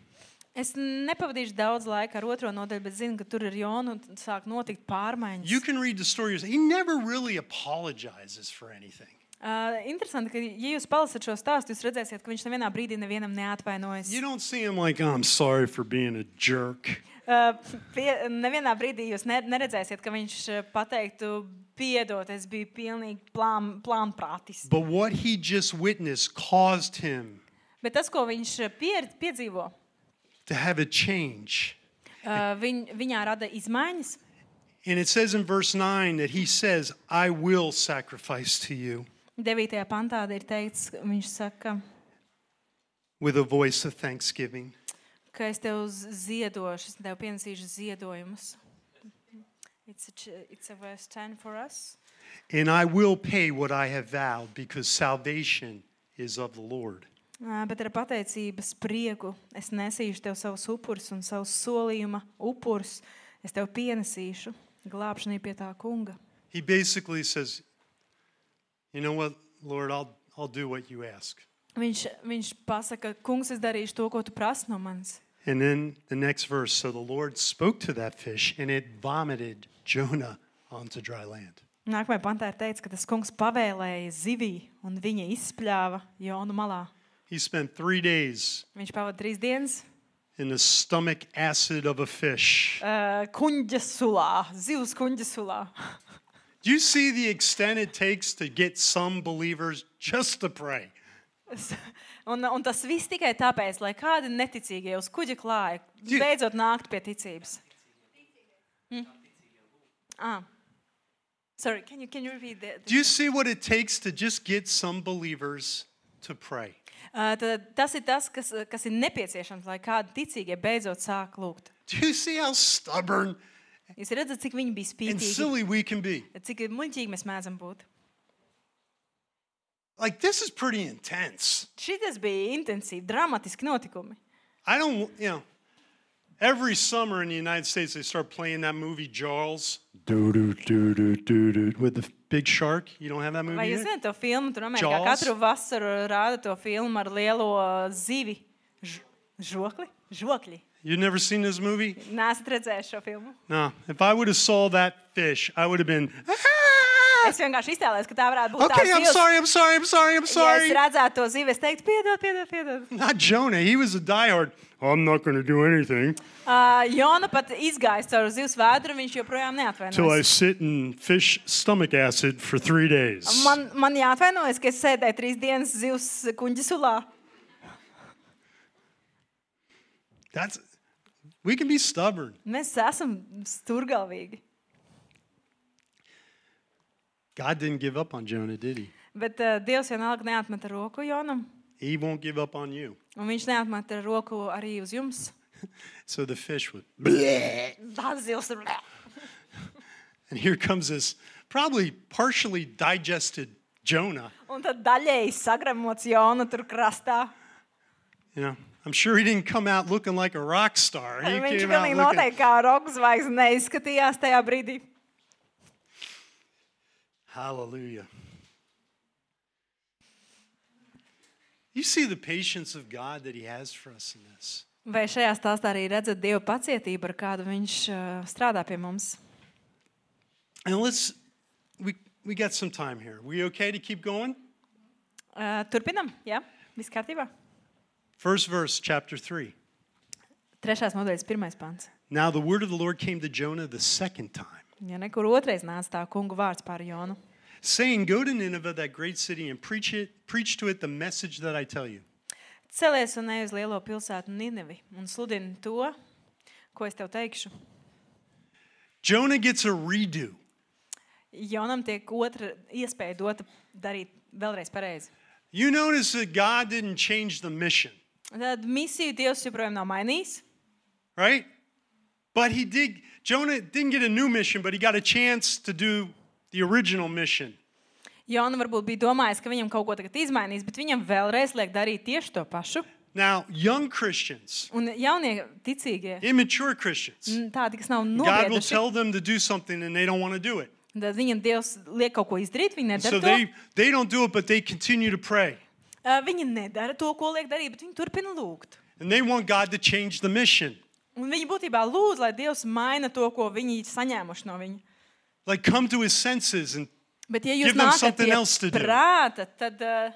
C: Es nepavadīšu daudz laika ar otro nodaļu, bet zinu, ka tur ir jona un sāk notikt pārmaiņas.
B: You can read the story. yourself. He never really apologizes for anything.
C: Uh, interesanti, ka, ja jūs palasat šo stāstu, jūs redzēsiet, ka viņš nevienā brīdī nevienam neatvainojas.
B: You don't see him like, "Oh, I'm sorry for being a jerk.
C: Uh, pie- nevienā brīdī jūs ne, neredzēsiet, ka viņš uh, pateiktu, piedod, es biju pilnīgi plām, plānprātis.
B: But what he just witnessed caused him
C: Bet tas, ko viņš uh, pier, piedzīvo,
B: to have a change.
C: uh, viņ, viņā rada izmaiņas.
B: And it says in verse 9 that he says, I will sacrifice to you
C: 9. pantā ir teikts, ka viņš saka,
B: with a voice of thanksgiving.
C: ka es tev z- ziedošu, es tev pienesīšu ziedojumus. It's a, ch- it's a verse 10 for us.
B: And I will pay what I have vowed because salvation is of the Lord.
C: Ā, Bet ar pateicības prieku es nesīšu tev savus upurus un savus solījuma upurus. Es tev pienesīšu glābšanai pie tā kunga.
B: He basically says, You know what, Lord, I'll, I'll do what you ask.
C: Viņš, viņš pasaka, kungs, es darīšu to, ko tu prasi no manis.
B: And then the next verse so the Lord spoke to that fish, and it vomited Jonah onto dry land.
C: Nākamajā pantā ir teikts, ka tas kungs pavēlēja zivī, un viņa izspļāva jonu malā.
B: He spent three days
C: Viņš pavadīja trīs dienas
B: in the stomach acid of a fish.
C: uh, kuģa sulā, zivs kuģa sulā.
B: Do you see the extent it takes to get some believers just to pray?
C: Es- Un, un tas viss tikai tāpēc, lai kādi neticīgie uz kuģa klāja,
B: Ju-
C: beidzot nākt pie ticības. Mm. Ah. Sorry, can you, can you repeat that?
B: Do you see what it takes to just get some believers to pray?
C: Uh, tad tas ir tas, kas, uh, kas ir nepieciešams, lai kādi ticīgie beidzot sāk lūgt.
B: Do you see how stubborn
C: Jūs redzat, cik viņi bija
B: and
C: spītīgi,
B: silly we can be?
C: cik muļķīgi mēs mēdzam būt.
B: Like, this is pretty intense.
C: Šis bija intensīvi, dramatiski notikumi.
B: I don't, you know, every summer in the United States, they start playing that movie, Jaws. Do, do, do, do, do, do. With the big shark. You don't have that movie?
C: Vai jūs
B: yet?
C: zināt to filmu? Tur Amerikā
B: Jaws.
C: katru vasaru rāda to filmu ar lielo uh, zivi. Ž žokli? Žokļi.
B: You've never seen this movie?
C: Nē, esat redzējuši šo filmu.
B: No. If I would have saw that fish, I would have been, "Ah!"
C: Es vienkārši iztēlojos, ka tā varētu būt.
B: okay,
C: tā
B: I'm
C: zivs.
B: sorry, I'm sorry, I'm sorry, I'm sorry.
C: Ja es redzētu to zivi, es teiktu, piedod, piedod, piedod.
B: Not Jonah. He was a diehard. I'm not going to do anything
C: Uh, Jona pat izgājis caur zivs vēdru, viņš joprojām
B: till I
C: neatvainojas.
B: sit in fish stomach acid for three days.
C: Man, man jāatvainojas, ka es sēdēju trīs dienas zivs kuģa sulā.
B: That's we can be stubborn.
C: Mēs esam stūrgalvīgi.
B: God didn't give up on Jonah, did he?
C: Bet uh, Dievs vienalga neatmeta roku Jonam,
B: He won't give up on you.
C: un viņš neatmeta roku arī uz jums.
B: So the fish would,
C: Tā zivs ir.
B: and here comes this probably partially digested Jonah.
C: Un tad daļēji sagremots Jona tur krastā.
B: You know, I'm sure he didn't come out looking like a rock star. He
C: Viņš
B: came out
C: pilnīgi
B: looking,
C: noteikti kā roka zvaigzne neizskatījās tajā brīdī.
B: Hallelujah. You see the patience of God that He has for us in this.
C: Vai šajā stāstā arī redzat dievu pacietību, ar kādu viņš uh, strādā pie mums?
B: And let's, we, we got some time here. We okay to keep going?
C: Ā, Uh, Turpinam, jā, viss kārtībā.
B: First verse, chapter 3.
C: Trešās nodaļas, pirmais pants.
B: Now the word of the Lord came to Jonah the second time,
C: Ja nekur otrais nāca tā kunga vārds pār Jonu.
B: saying, Go to Nineveh, that great city, and preach it, preach to it the message that I tell you.
C: Celies un ej uz lielo pilsētu Ninivi un sludini to, ko es tev teikšu.
B: Jonah gets a redo.
C: Jonam tiek otra iespēja dota darīt vēlreiz pareizi.
B: You notice that God didn't change the mission,
C: Tad misiju Dievs joprojām nav mainījis.
B: right? But he did, Jonah didn't get a new mission, but he got a chance to do the original mission.
C: Jona nu varbūt bija domājis, ka viņam kaut ko tagad izmainīs, bet viņam vēlreiz liek darīt tieši to pašu.
B: Now, young Christians,
C: Un jaunie ticīgie,
B: immature Christians,
C: n- tādi, kas nav
B: God will
C: nobrieduši,
B: tell them to do something and they don't want to do it.
C: tad viņiem Dievs liek kaut ko izdarīt. Viņi nedara,
B: So
C: to.
B: they, they don't do it, but they continue to pray.
C: Ā, viņi nedara to, ko liek darīt, bet viņi turpina lūgt.
B: And they want God to change the mission.
C: Un viņi būtībā lūdz, lai Dievs maina to, ko viņi ir saņēmuši no viņa.
B: Like, come to his senses. And
C: Bet, ja
B: Give
C: jūs
B: them
C: nākat
B: something
C: pie
B: else to do.
C: prāta, tad ā,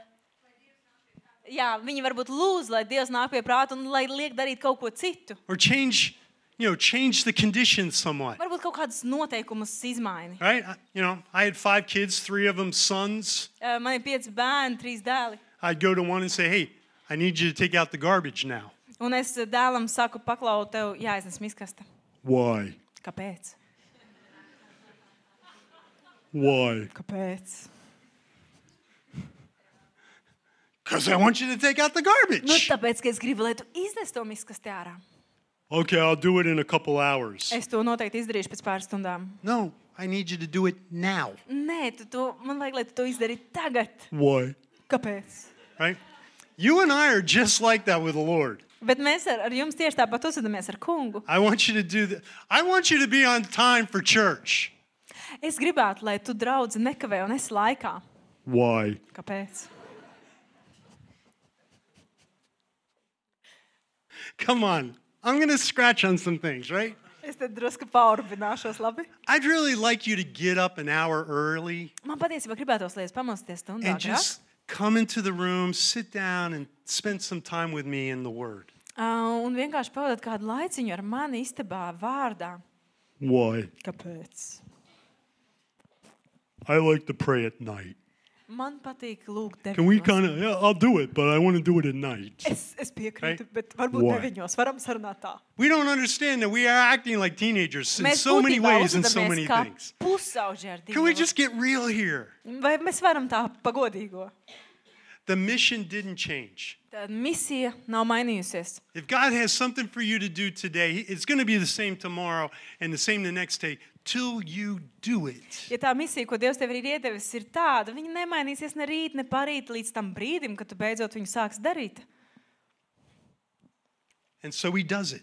C: jā, viņi varbūt lūdz, lai Dievs nāk pie prāta un lai liek darīt kaut ko citu.
B: or change, you know, change the conditions somewhat.
C: Varbūt kaut kādas noteikumus izmaini.
B: Right? I- You know, I had five kids, three of them sons.
C: Ā, Man ir pieci bērni, trīs dēli.
B: I'd go to one and say, hey, I need you to take out the garbage now.
C: Un es dēlam saku, paklau, tev jāiznes miskasta.
B: Why?
C: Kāpēc?
B: Why?
C: Kāpēc?
B: Because I want you to take out the
C: Nu,
B: garbage.
C: tāpēc, ka es gribu, lai tu iznes to miskastu ārā.
B: Okay, I'll do it in a couple hours.
C: Es to noteikti izdarīšu pēc pāris stundām.
B: No, I need you to do it now.
C: Nē, tu to, man vajag, lai tu to izdari tagad.
B: Why?
C: Kāpēc?
B: Right? You and I are just like that with the Lord.
C: Bet mēs ar, ar jums tieši tāpat uzvedamies ar kungu.
B: I want you to do that. I want you to be on time for church.
C: Es gribētu, lai tu draugi nekavē un es laikā.
B: Why?
C: Kāpēc?
B: Come on. I'm going to scratch on some things, right?
C: Es te drusku paurbināšos, labi?
B: I'd really like you to get up an hour early
C: Man patiesībā gribētos, lai es pamosties stundā.
B: and just come into the room, sit down, and spend some time with me in the Word.
C: Uh, un vienkārši pavadīt kādu laiciņu ar mani istabā, vārdā.
B: Why?
C: Kāpēc?
B: I like to pray at night.
C: Man patīk lūgt tevi.
B: of, yeah, I'll do it, but I want to do it at night.
C: Es, es piekrītu, bet varbūt
B: Why?
C: deviņos varam sarunāt tā.
B: We don't understand that we are acting like teenagers in so many ways and so many
C: kā
B: things.
C: pusauģi ar
B: Can we
C: Dievu.
B: just get real here?
C: Vai mēs varam tā pagodīgo?
B: The mission didn't change.
C: Tad misija nav mainījusies.
B: If God has something for you to do today, it's going to be the same tomorrow and the same the next day till you do it.
C: Ja tā misija, ko Dievs tev ir iedevis, ir tāda, viņa nemainīsies ne rīt, ne parīt, līdz tam brīdim, kad tu beidzot viņu sāksi darīt.
B: And so he does it.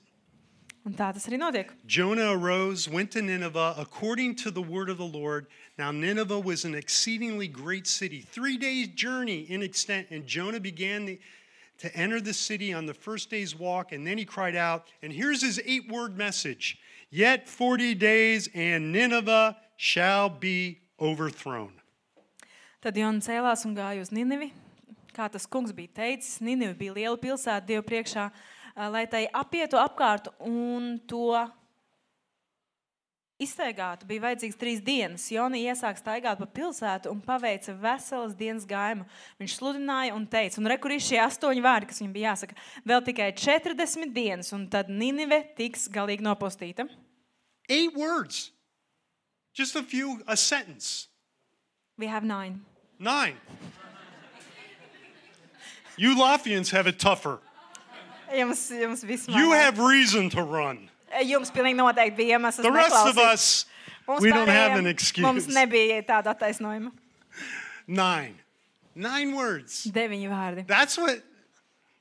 C: Un tā tas arī notiek.
B: Jonah arose, went to Nineveh according to the word of the Lord. Now, Nineveh was an exceedingly great city, three days' journey in extent. And Jonah began the- to enter the city on the first day's walk. And then he cried out, and here's his eight word message Yet 40 days, and Nineveh shall be overthrown.
C: Tad Jona cēlās un gāja uz Ninivi. Kā tas kungs bija teicis, Ninive bija liela pilsēta Dieva priekšā, ā, lai tai apietu apkārt un to iztaigātu. Bija vajadzīgs trīs dienas. Jona iesāka staigāt pa pilsētu un paveica veselas dienas gājumu. Viņš sludināja un teica, un rekur ir šie astoņi vārdi, kas viņam bija jāsaka, vēl tikai 40 dienas, un tad Ninive tiks galīgi nopostīta.
B: Eight words, just a few, a sentence.
C: We have nine.
B: Nine. You Lothians have it tougher.
C: Jums, jums viss
B: You have reason to run.
C: Jums pilnīgi noteikti bija iemesls.
B: The rest of
C: neklausīt.
B: us,
C: Mums
B: we don't
C: pārējiem
B: have an
C: Mums
B: excuse.
C: nebija tāda attaisnojuma.
B: Nine. Nine words.
C: Deviņi vārdi.
B: That's what,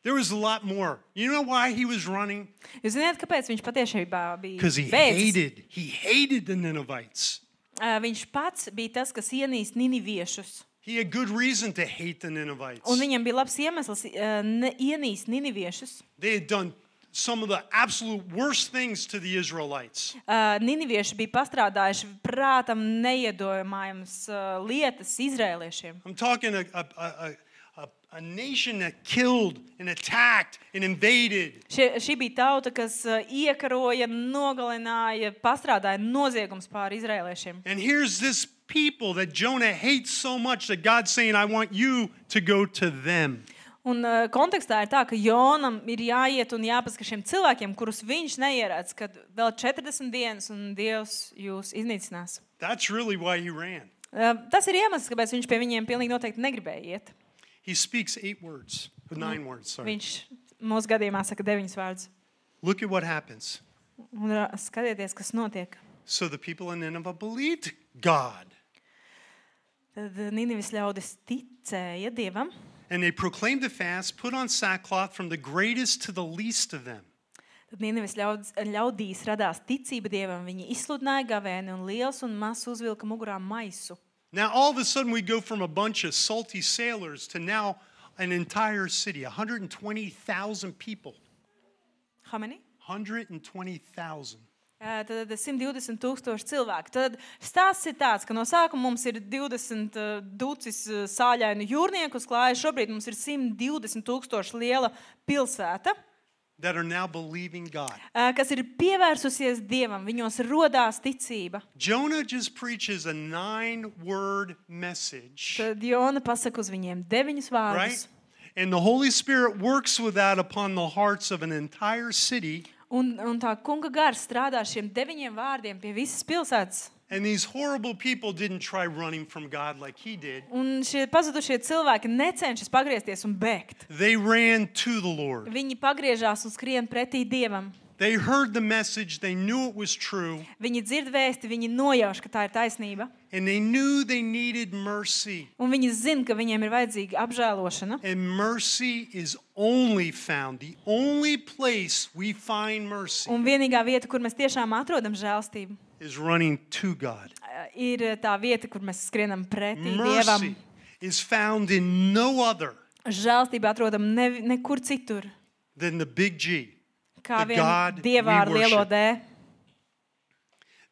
B: there was a lot more. You know why he was running?
C: Jūs zināt, kāpēc viņš patiešībā bija?
B: Because he
C: bēdzis?
B: hated, he hated the Ninevites.
C: Ā, Viņš pats bija tas, kas ienīst niniviešus.
B: He had good reason to hate the Ninevites.
C: Un viņam bija labs iemesls ā, ne- ienīst eh, niniviešus.
B: They had done some of the absolute worst things to the Israelites.
C: Uh, Ninivieši bija pastrādājuši prātam neiedojamājas lietas izrēliešiem.
B: I'm talking a, a, a, a, a nation that killed and attacked and invaded.
C: Šie, šī bija tauta, kas uh, iekaroja, nogalināja, pastrādāja noziegums pār izrēliešiem.
B: And here's this people that Jonah hates so much that God's saying, I want you to go to them.
C: Un uh, kontekstā ir tā, ka Jonam ir jāiet un jāpasaka šiem cilvēkiem, kurus viņš neieredz, kad vēl 40 dienas un Dievs jūs iznīcinās.
B: That's really why he ran.
C: Uh, Tas ir iemesls, kāpēc viņš pie viņiem pilnīgi noteikti negribēja iet.
B: He speaks eight words, nine words, sorry.
C: Viņš mūsu gadījumā saka deviņus vārdus.
B: Look at what happens.
C: Un ra- skatieties, kas notiek.
B: So the people in Nineveh believed God
C: Tad Nīnevis ļaudis ticēja Dievam,
B: and they proclaimed a fast, put on sackcloth from the greatest to the least of them.
C: tad Nīnevis ļaudis, ļaudīs radās ticība Dievam. Viņi izsludināja gavēni un liels un mazs uzvilka mugurā maisu.
B: Now, all of a sudden, we go from a bunch of salty sailors to now an entire city 120,000 people.
C: Hameni?
B: 120,000.
C: Ā, Tad 120 tūkstoši cilvēku. Tad stāsts ir tāds, ka no sākuma mums ir 20 uh, ducis uh, sāļainu jūrnieku uz klāja. Šobrīd mums ir 120 tūkstoši liela pilsēta,
B: that are now believing God.
C: ā, kas ir pievērsusies Dievam. Viņos rodās ticība.
B: Jonah just preaches a nine word message,
C: Tad Jona pasaka uz viņiem deviņus vārdus.
B: right? And the Holy Spirit works with that upon the hearts of an entire city.
C: Un, un tā kunga gars strādā ar šiem deviņiem vārdiem pie visas pilsētas.
B: And these horrible people didn't try running from God like he did.
C: Un šie pazudušie cilvēki necenšas pagriezties un bēgt.
B: They ran to the Lord.
C: Viņi pagriežās un skrien pretī Dievam.
B: They heard the message, they knew it was true,
C: Viņi dzird vēsti, viņi nojauš, ka tā ir taisnība.
B: and they knew they needed mercy.
C: Un viņi zina, ka viņiem ir vajadzīga apžēlošana.
B: And mercy is only found, the only place we find mercy
C: Un vienīgā vieta, kur mēs tiešām atrodam žēlstību,
B: is running to God.
C: eh, ir tā vieta, kur mēs skrienam pretī Dievam.
B: mercy is found in no other
C: Žēlstību atrodam ne, nekur citur,
B: than the big G.
C: kā
B: The
C: vien
B: God
C: Dievā ar
B: we
C: lielo
B: worship.
C: dēlu.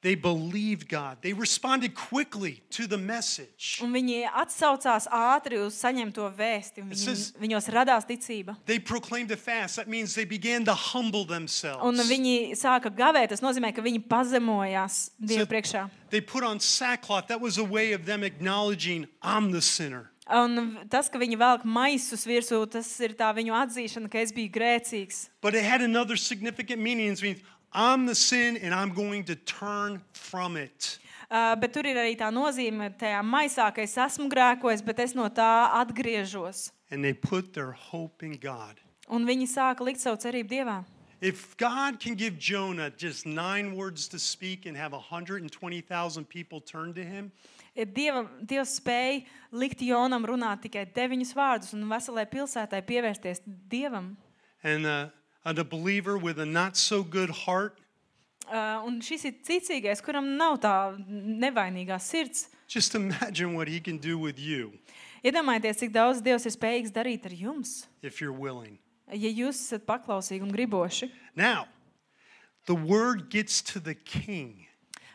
B: They believed God. They responded quickly to the message.
C: Un viņi atsaucās ātri uz saņemto vēsti. un
B: It
C: Viņi,
B: says-
C: viņos radās ticība.
B: They proclaimed a fast. That means they began to humble
C: Un
B: themselves.
C: viņi sāka gavēt. Tas nozīmē, ka viņi pazemojās
B: So-
C: Dieva priekšā.
B: They put on sackcloth. That was a way of them acknowledging, I'm the sinner.
C: Un tas, ka viņi velk maisus virsū, tas ir tā viņu atzīšana, ka es biju grēcīgs.
B: But it had another significant meaning. It means, I'm the sin and I'm going to turn from it.
C: Uh, bet tur ir arī tā nozīme, tajā maisā, ka es esmu grēkojis, bet es no tā atgriežos.
B: And they put their hope in God.
C: Un viņi sāka likt savu cerību Dievā.
B: If God can give Jonah just nine words to speak and have 120,000 people turn to him,
C: Ja Dieva, Dievs spēja likt Jonam runāt tikai deviņus vārdus un veselai pilsētai pievērsties Dievam.
B: and uh, and a believer with a not so good heart
C: Uh, un šis ir cīcīgais, kuram nav tā nevainīgā sirds.
B: just imagine what he can do with you
C: Iedomājieties, cik daudz Dievs ir spējīgs darīt ar jums,
B: if you're willing
C: ja jūs esat paklausīgi un griboši.
B: now the word gets to the king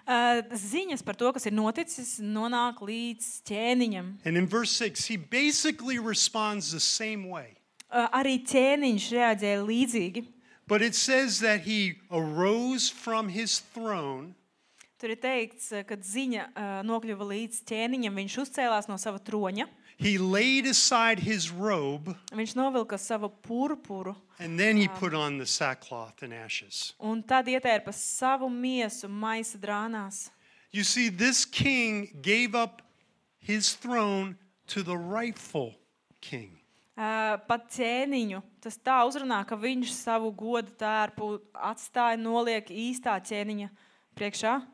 C: Uh, ziņas par to, kas ir noticis, nonāk līdz ķēniņam.
B: and in verse 6 he basically responds the same way
C: Uh, arī ķēniņš reaģēja līdzīgi.
B: but it says that he arose from his throne
C: Tur ir teikts, ka ziņa uh, nokļuva līdz ķēniņam. Viņš uzcēlās no sava troņa,
B: he laid aside his robe
C: viņš novilka savu purpuru
B: and then he put on the sackcloth and ashes
C: un tad ietērpa savu miesu maisa drānās.
B: you see this king gave up his throne to the rightful king
C: Ā, pat ķēniņu. Tas tā uzrunā, ka viņš savu godu tērpu atstāja, noliek īstā ķēniņa priekšā.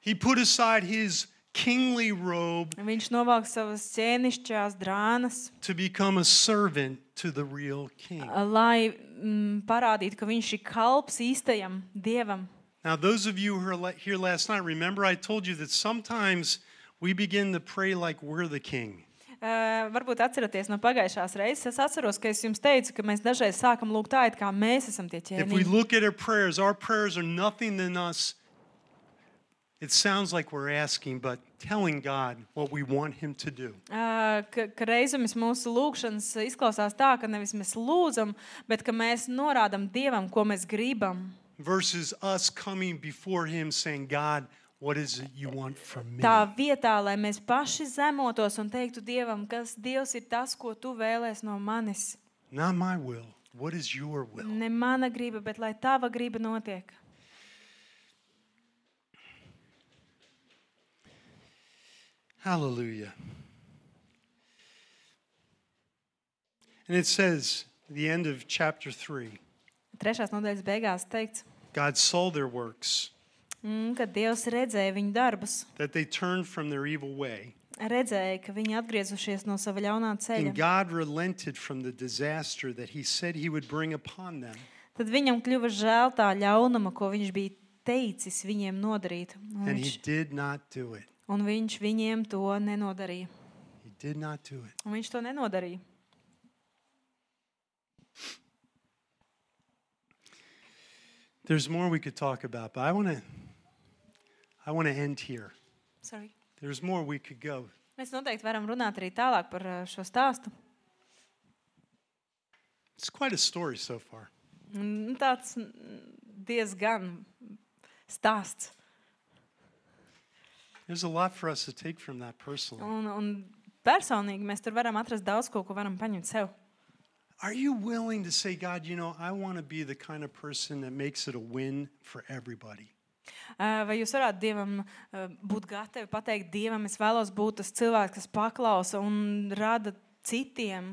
B: He put aside his kingly robe
C: Viņš novelk savas ķēnišķās drānas,
B: to become a servant to the real king.
C: Eh, lai mm, parādītu, ka viņš ir kalps īstajam dievam.
B: Now, those of you who are le- here last night, remember I told you that sometimes we begin to pray like we're the king.
C: eh, varbūt atceraties no pagājušās reizes, es atceros, ka es jums teicu, ka mēs dažreiz sākam lūgt tā, it kā mēs esam tie
B: If we
C: ķēniņi.
B: look at our prayers, our prayers are nothing than us. It sounds like we're asking, but telling God what we want Him to do.
C: Eh, Ka, ka reizēm mūsu lūgšanas izklausās tā, ka nevis mēs lūdzam, bet ka mēs norādām Dievam, ko mēs gribam.
B: versus us coming before him saying, God, what is it you want from me?
C: Tā vietā, lai mēs paši zemotos un teiktu Dievam, kas Dievs ir tas, ko tu vēlēsies no manis.
B: Not my will. What is your will?
C: Ne mana griba, bet lai tava griba notiek.
B: Hallelujah. And it says, at the end of chapter 3,
C: Trešās nodaļas beigās teikts,
B: God saw their works,
C: mm, ka Dievs redzēja viņu darbus,
B: that they turned from their evil way,
C: redzēja, ka viņi atgriezušies no sava ļaunā
B: and
C: ceļa.
B: God relented from the disaster that he said he would bring upon them.
C: Tad viņam kļuva žēl tā ļaunuma, ko viņš bija teicis viņiem nodarīt. Un
B: And
C: viņš,
B: he did not do it.
C: un viņš viņiem to nenodarīja.
B: He did not do it.
C: Un viņš to nenodarīja.
B: There's more we could talk about, but I want to I want to end here.
C: Sorry.
B: There's more we could go.
C: Mēs noteikti varam runāt arī tālāk par eh, šo stāstu.
B: It's quite a story so far.
C: Nu, Tāds mm, diezgan stāsts.
B: There's a lot for us to take from that personally.
C: Un, un personīgi mēs tur varam atrast daudz ko, ko varam paņemt sev.
B: Are you willing to say, God, you know, I want to be the kind of person that makes it a win for everybody?
C: Ā, Vai jūs varētu dievam ā, būt gatavi pateikt, Dievam, es vēlos būt tas cilvēks, kas paklausa un rada citiem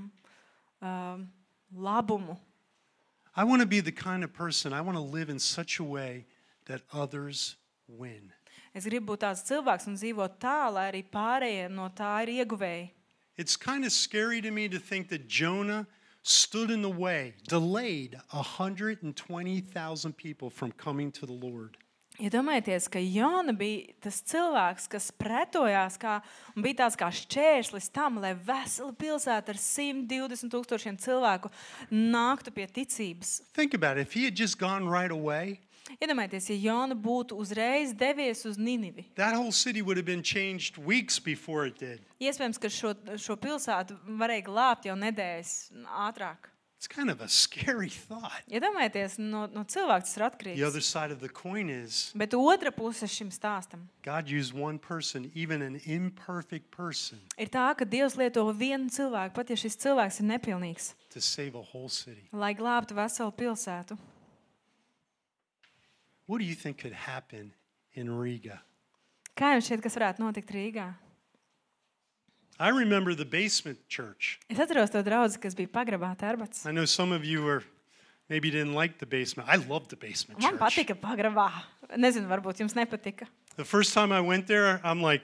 C: ā, labumu?
B: I want to be the kind of person, I want to live in such a way that others win.
C: Es gribu būt tāds cilvēks un dzīvot tā, lai arī pārējie no tā ir ieguvēji.
B: It's kind of scary to me to think that Jonah stood in the way, delayed 120,000 people from coming to the Lord.
C: Iedomājieties, ka Jona bija tas cilvēks, kas pretojās kā, un bija tāds kā šķērslis tam, lai vesela pilsēta ar 120 tūkstošiem cilvēku nāktu pie ticības.
B: Think about it. If he had just gone right away,
C: Iedomājieties, ja Jona būtu uzreiz devies uz Ninivi.
B: that whole city would have been changed weeks before it did.
C: Iespējams, ka šo, šo pilsētu varēja glābt jau nedēļas ātrāk.
B: It's kind of a scary thought.
C: Iedomājieties, no, no cilvēka tas ir
B: The other
C: atkarīgs.
B: side of the coin is
C: Bet otra puse šim stāstam
B: God used one person, even an imperfect person,
C: ir tā, ka Dievs lieto vienu cilvēku, pat ja šis cilvēks ir nepilnīgs,
B: to save a whole city.
C: lai glābtu veselu pilsētu.
B: What do you think could happen in Riga?
C: Kā jums šķiet, kas varētu notikt Rīgā?
B: I remember the basement church.
C: Es atceros to draugu, kas bija pagrabā tērbats.
B: I know some of you are maybe didn't like the basement. I loved the basement
C: Man
B: church.
C: patika pagrabā. Nezinu, varbūt jums nepatika.
B: The first time I went there, I'm like,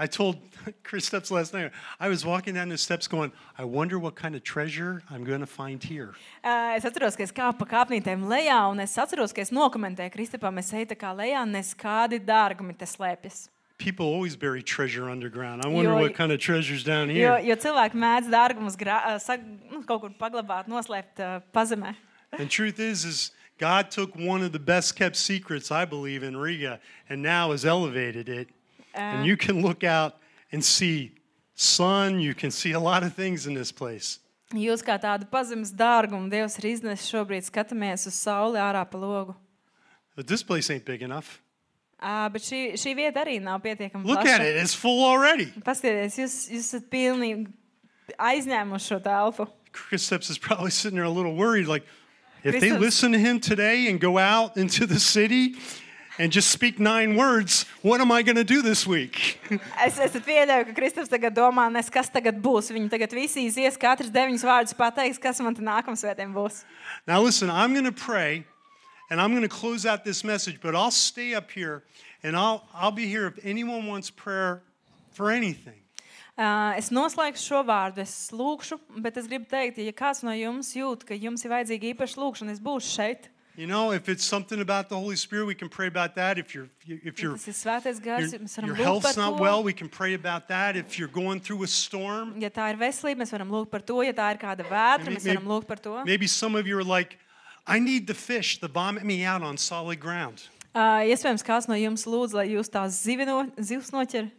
B: I told Chris Steps last night, I was walking down the steps going, I wonder what kind of treasure I'm going to find here.
C: Ā, Es atceros, ka es kāpu pa kāpnītēm lejā, un es atceros, ka es nokomentēju Kristapam, es eju tā kā lejā, nes kādi dārgumi te slēpjas.
B: People always bury treasure underground. I wonder
C: Yo-
B: what kind of treasure's down
C: Jo,
B: here.
C: jo cilvēki mēdz dārgumus grā, ā, sag, nu, kaut kur paglabāt, noslēpt ā, pazemē.
B: And truth is, is God took one of the best kept secrets, I believe, in Riga, and now has elevated it. and you can look out and see sun. You can see a lot of things in this place.
C: Jūs kā tādu pazemes dārgumu Dievs ir iznesis šobrīd, skatāmies uz sauli ārā pa logu.
B: But this place ain't big enough.
C: À, bet šī, šī vieta arī nav pietiekama.
B: Look at
C: plaša.
B: it. It's full already.
C: Paskatieties, jūs, jūs esat pilnīgi aizņēmuši šo telpu.
B: Chris Steps is probably sitting there a little worried, like, if they
C: Christos.
B: listen to him today and go out into the city and just speak nine words, what am I going to do this week?
C: Es esmu pieļāvis, ka Kristofers tagad domā, nes kas tagad būs. Viņi tagad visi izies, katrs deviņus vārdus pateiks, kas man te nākamā svētdiena būs.
B: Now, listen, I'm going to pray and I'm going to close out this message, but I'll stay up here and I'll, I'll be here if anyone wants prayer for anything.
C: Ā, Es noslēgšu šo vārdu, es lūgšu, bet es gribu teikt, ja kāds no jums jūt, ka jums ir vajadzīga īpaša lūgšana, es būšu šeit.
B: You know, if it's something about the Holy Spirit, we can pray about that. If you're if
C: Ja
B: you're
C: tas ir svētais gars,
B: your,
C: mēs varam
B: your
C: lūgt par
B: health's not
C: to.
B: well, we can pray about that. If you're going through a storm,
C: Ja tā ir veselība, mēs varam lūgt par to. Ja tā ir kāda vētra, mēs
B: Maybe-
C: varam lūgt par to.
B: maybe some of you are like, I need the fish to vomit me out on solid ground.
C: Ā, Iespējams, kāds no jums lūdz, lai jūs tās zivino- zivs noķer.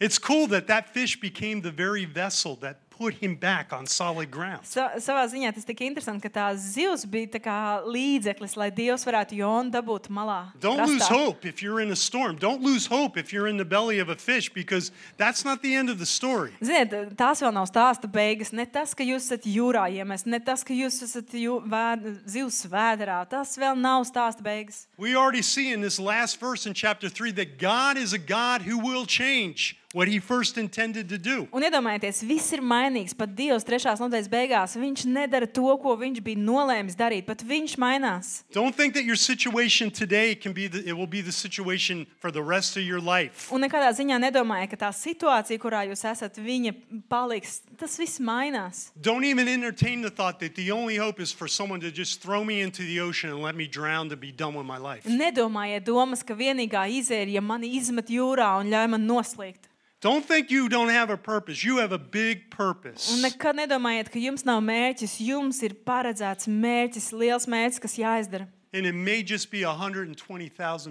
B: It's cool that that fish became the very vessel that put him back on solid ground.
C: Sa savā ziņā tas tik interesanti, ka tās zivs bija tā kā līdzeklis, lai Dievs varētu Jonu dabūt malā.
B: Don't
C: krastā.
B: lose hope if you're in a storm. Don't lose hope if you're in the belly of a fish because that's not the end of the story.
C: Ziniet, tās vēl nav stāsta beigas. Ne tas, ka jūs esat jūrā iemests, ne tas, ka jūs esat jū, vēd, zivs vēderā. Tas vēl nav stāsta beigas.
B: We already see in this last verse in chapter 3 that God is a God who will change what he first intended to do.
C: Un iedomājieties, viss ir mainīgs. Pat Dievs trešās nodaļas beigās viņš nedara to, ko viņš bija nolēmis darīt, bet viņš mainās.
B: Don't think that your situation today can be the, it will be the situation for the rest of your life.
C: Un nekādā ziņā nedomāju, ka tā situācija, kurā jūs esat, viņa paliks. Tas viss mainās.
B: Don't even entertain the thought that the only hope is for someone to just throw me into the ocean and let me drown to be done with my life.
C: Nedomājiet domas, ka vienīgā izēja ir, ja mani izmet jūrā un ļauj man noslīgt.
B: Don't think you don't have a purpose. You have a big
C: Un
B: purpose.
C: nekad nedomājiet, ka jums nav mērķis. Jums ir paredzēts mērķis, liels mērķis, kas jāizdara.
B: And it may just be 120,000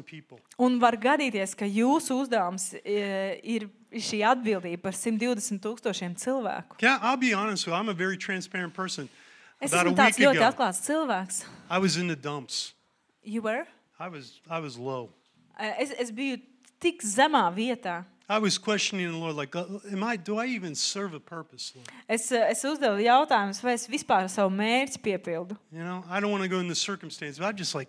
B: people.
C: Un var gadīties, ka jūsu uzdevums e, ir šī atbildība par 120 tūkstošiem cilvēku.
B: Yeah, I'll be honest with you. I'm a very transparent person.
C: Es
B: About a
C: esmu tāds
B: week
C: ļoti
B: ago,
C: atklāts cilvēks.
B: I was in the dumps.
C: You were?
B: I was I was low.
C: E, Es, es biju tik zemā vietā.
B: I was questioning the Lord, like, uh, am I? Do I even serve a purpose, Lord?
C: Es, eh, es uzdevu jautājumus, vai es vispār savu mērķi piepildu.
B: You know, I don't want to go into circumstance, but I'm just like,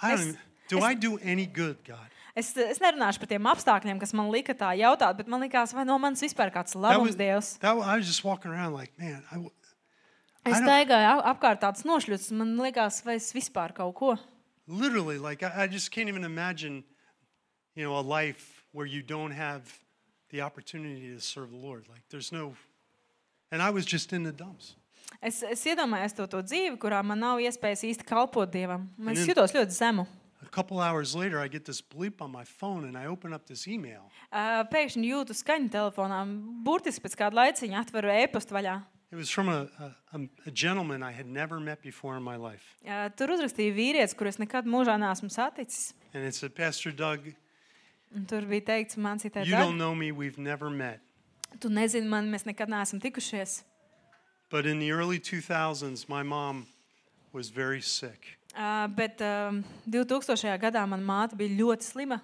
B: I
C: Es-
B: don't. even- do
C: es-
B: I do any good, God?
C: Es, eh, es nerunāšu par tiem apstākļiem, kas man lika tā jautāt, bet man likās, vai no manis vispār kāds
B: That
C: labums Dievs.
B: that was, I was just walking around like, man, I, w-
C: Es
B: I don't-
C: staigāju a- apkārt tāds nošļūts, un man likās, vai es vispār kaut ko.
B: literally like I, I just can't even imagine, you know, a life where you don't have the opportunity to serve the Lord. Like, there's no. And I was just in the dumps.
C: Es, es iedomājos to, to dzīvi, kurā man nav iespējas īsti kalpot Dievam. Un Es
B: Amen.
C: jutos ļoti zemu.
B: A couple hours later, I get this bleep on my phone, and I open up this email.
C: Ā, Pēkšņi jūtu skaņu telefonā. Burtiski pēc kāda laiciņa atveru e-pastu vaļā.
B: It was from a, a, a- a gentleman I had never met before in my life.
C: Ā, Tur uzrakstīja vīrietis, kurus nekad mūžā neesmu saticis.
B: And it said, Pastor Doug,
C: Un tur bija teikts, mācītāj,
B: you
C: Dag,
B: don't know me, we've never met.
C: Tu nezini, man mēs nekad neesam tikušies.
B: But in the early 2000s, my mom was very sick.
C: Uh, bet um, 2000. gadā mana māte bija ļoti slima.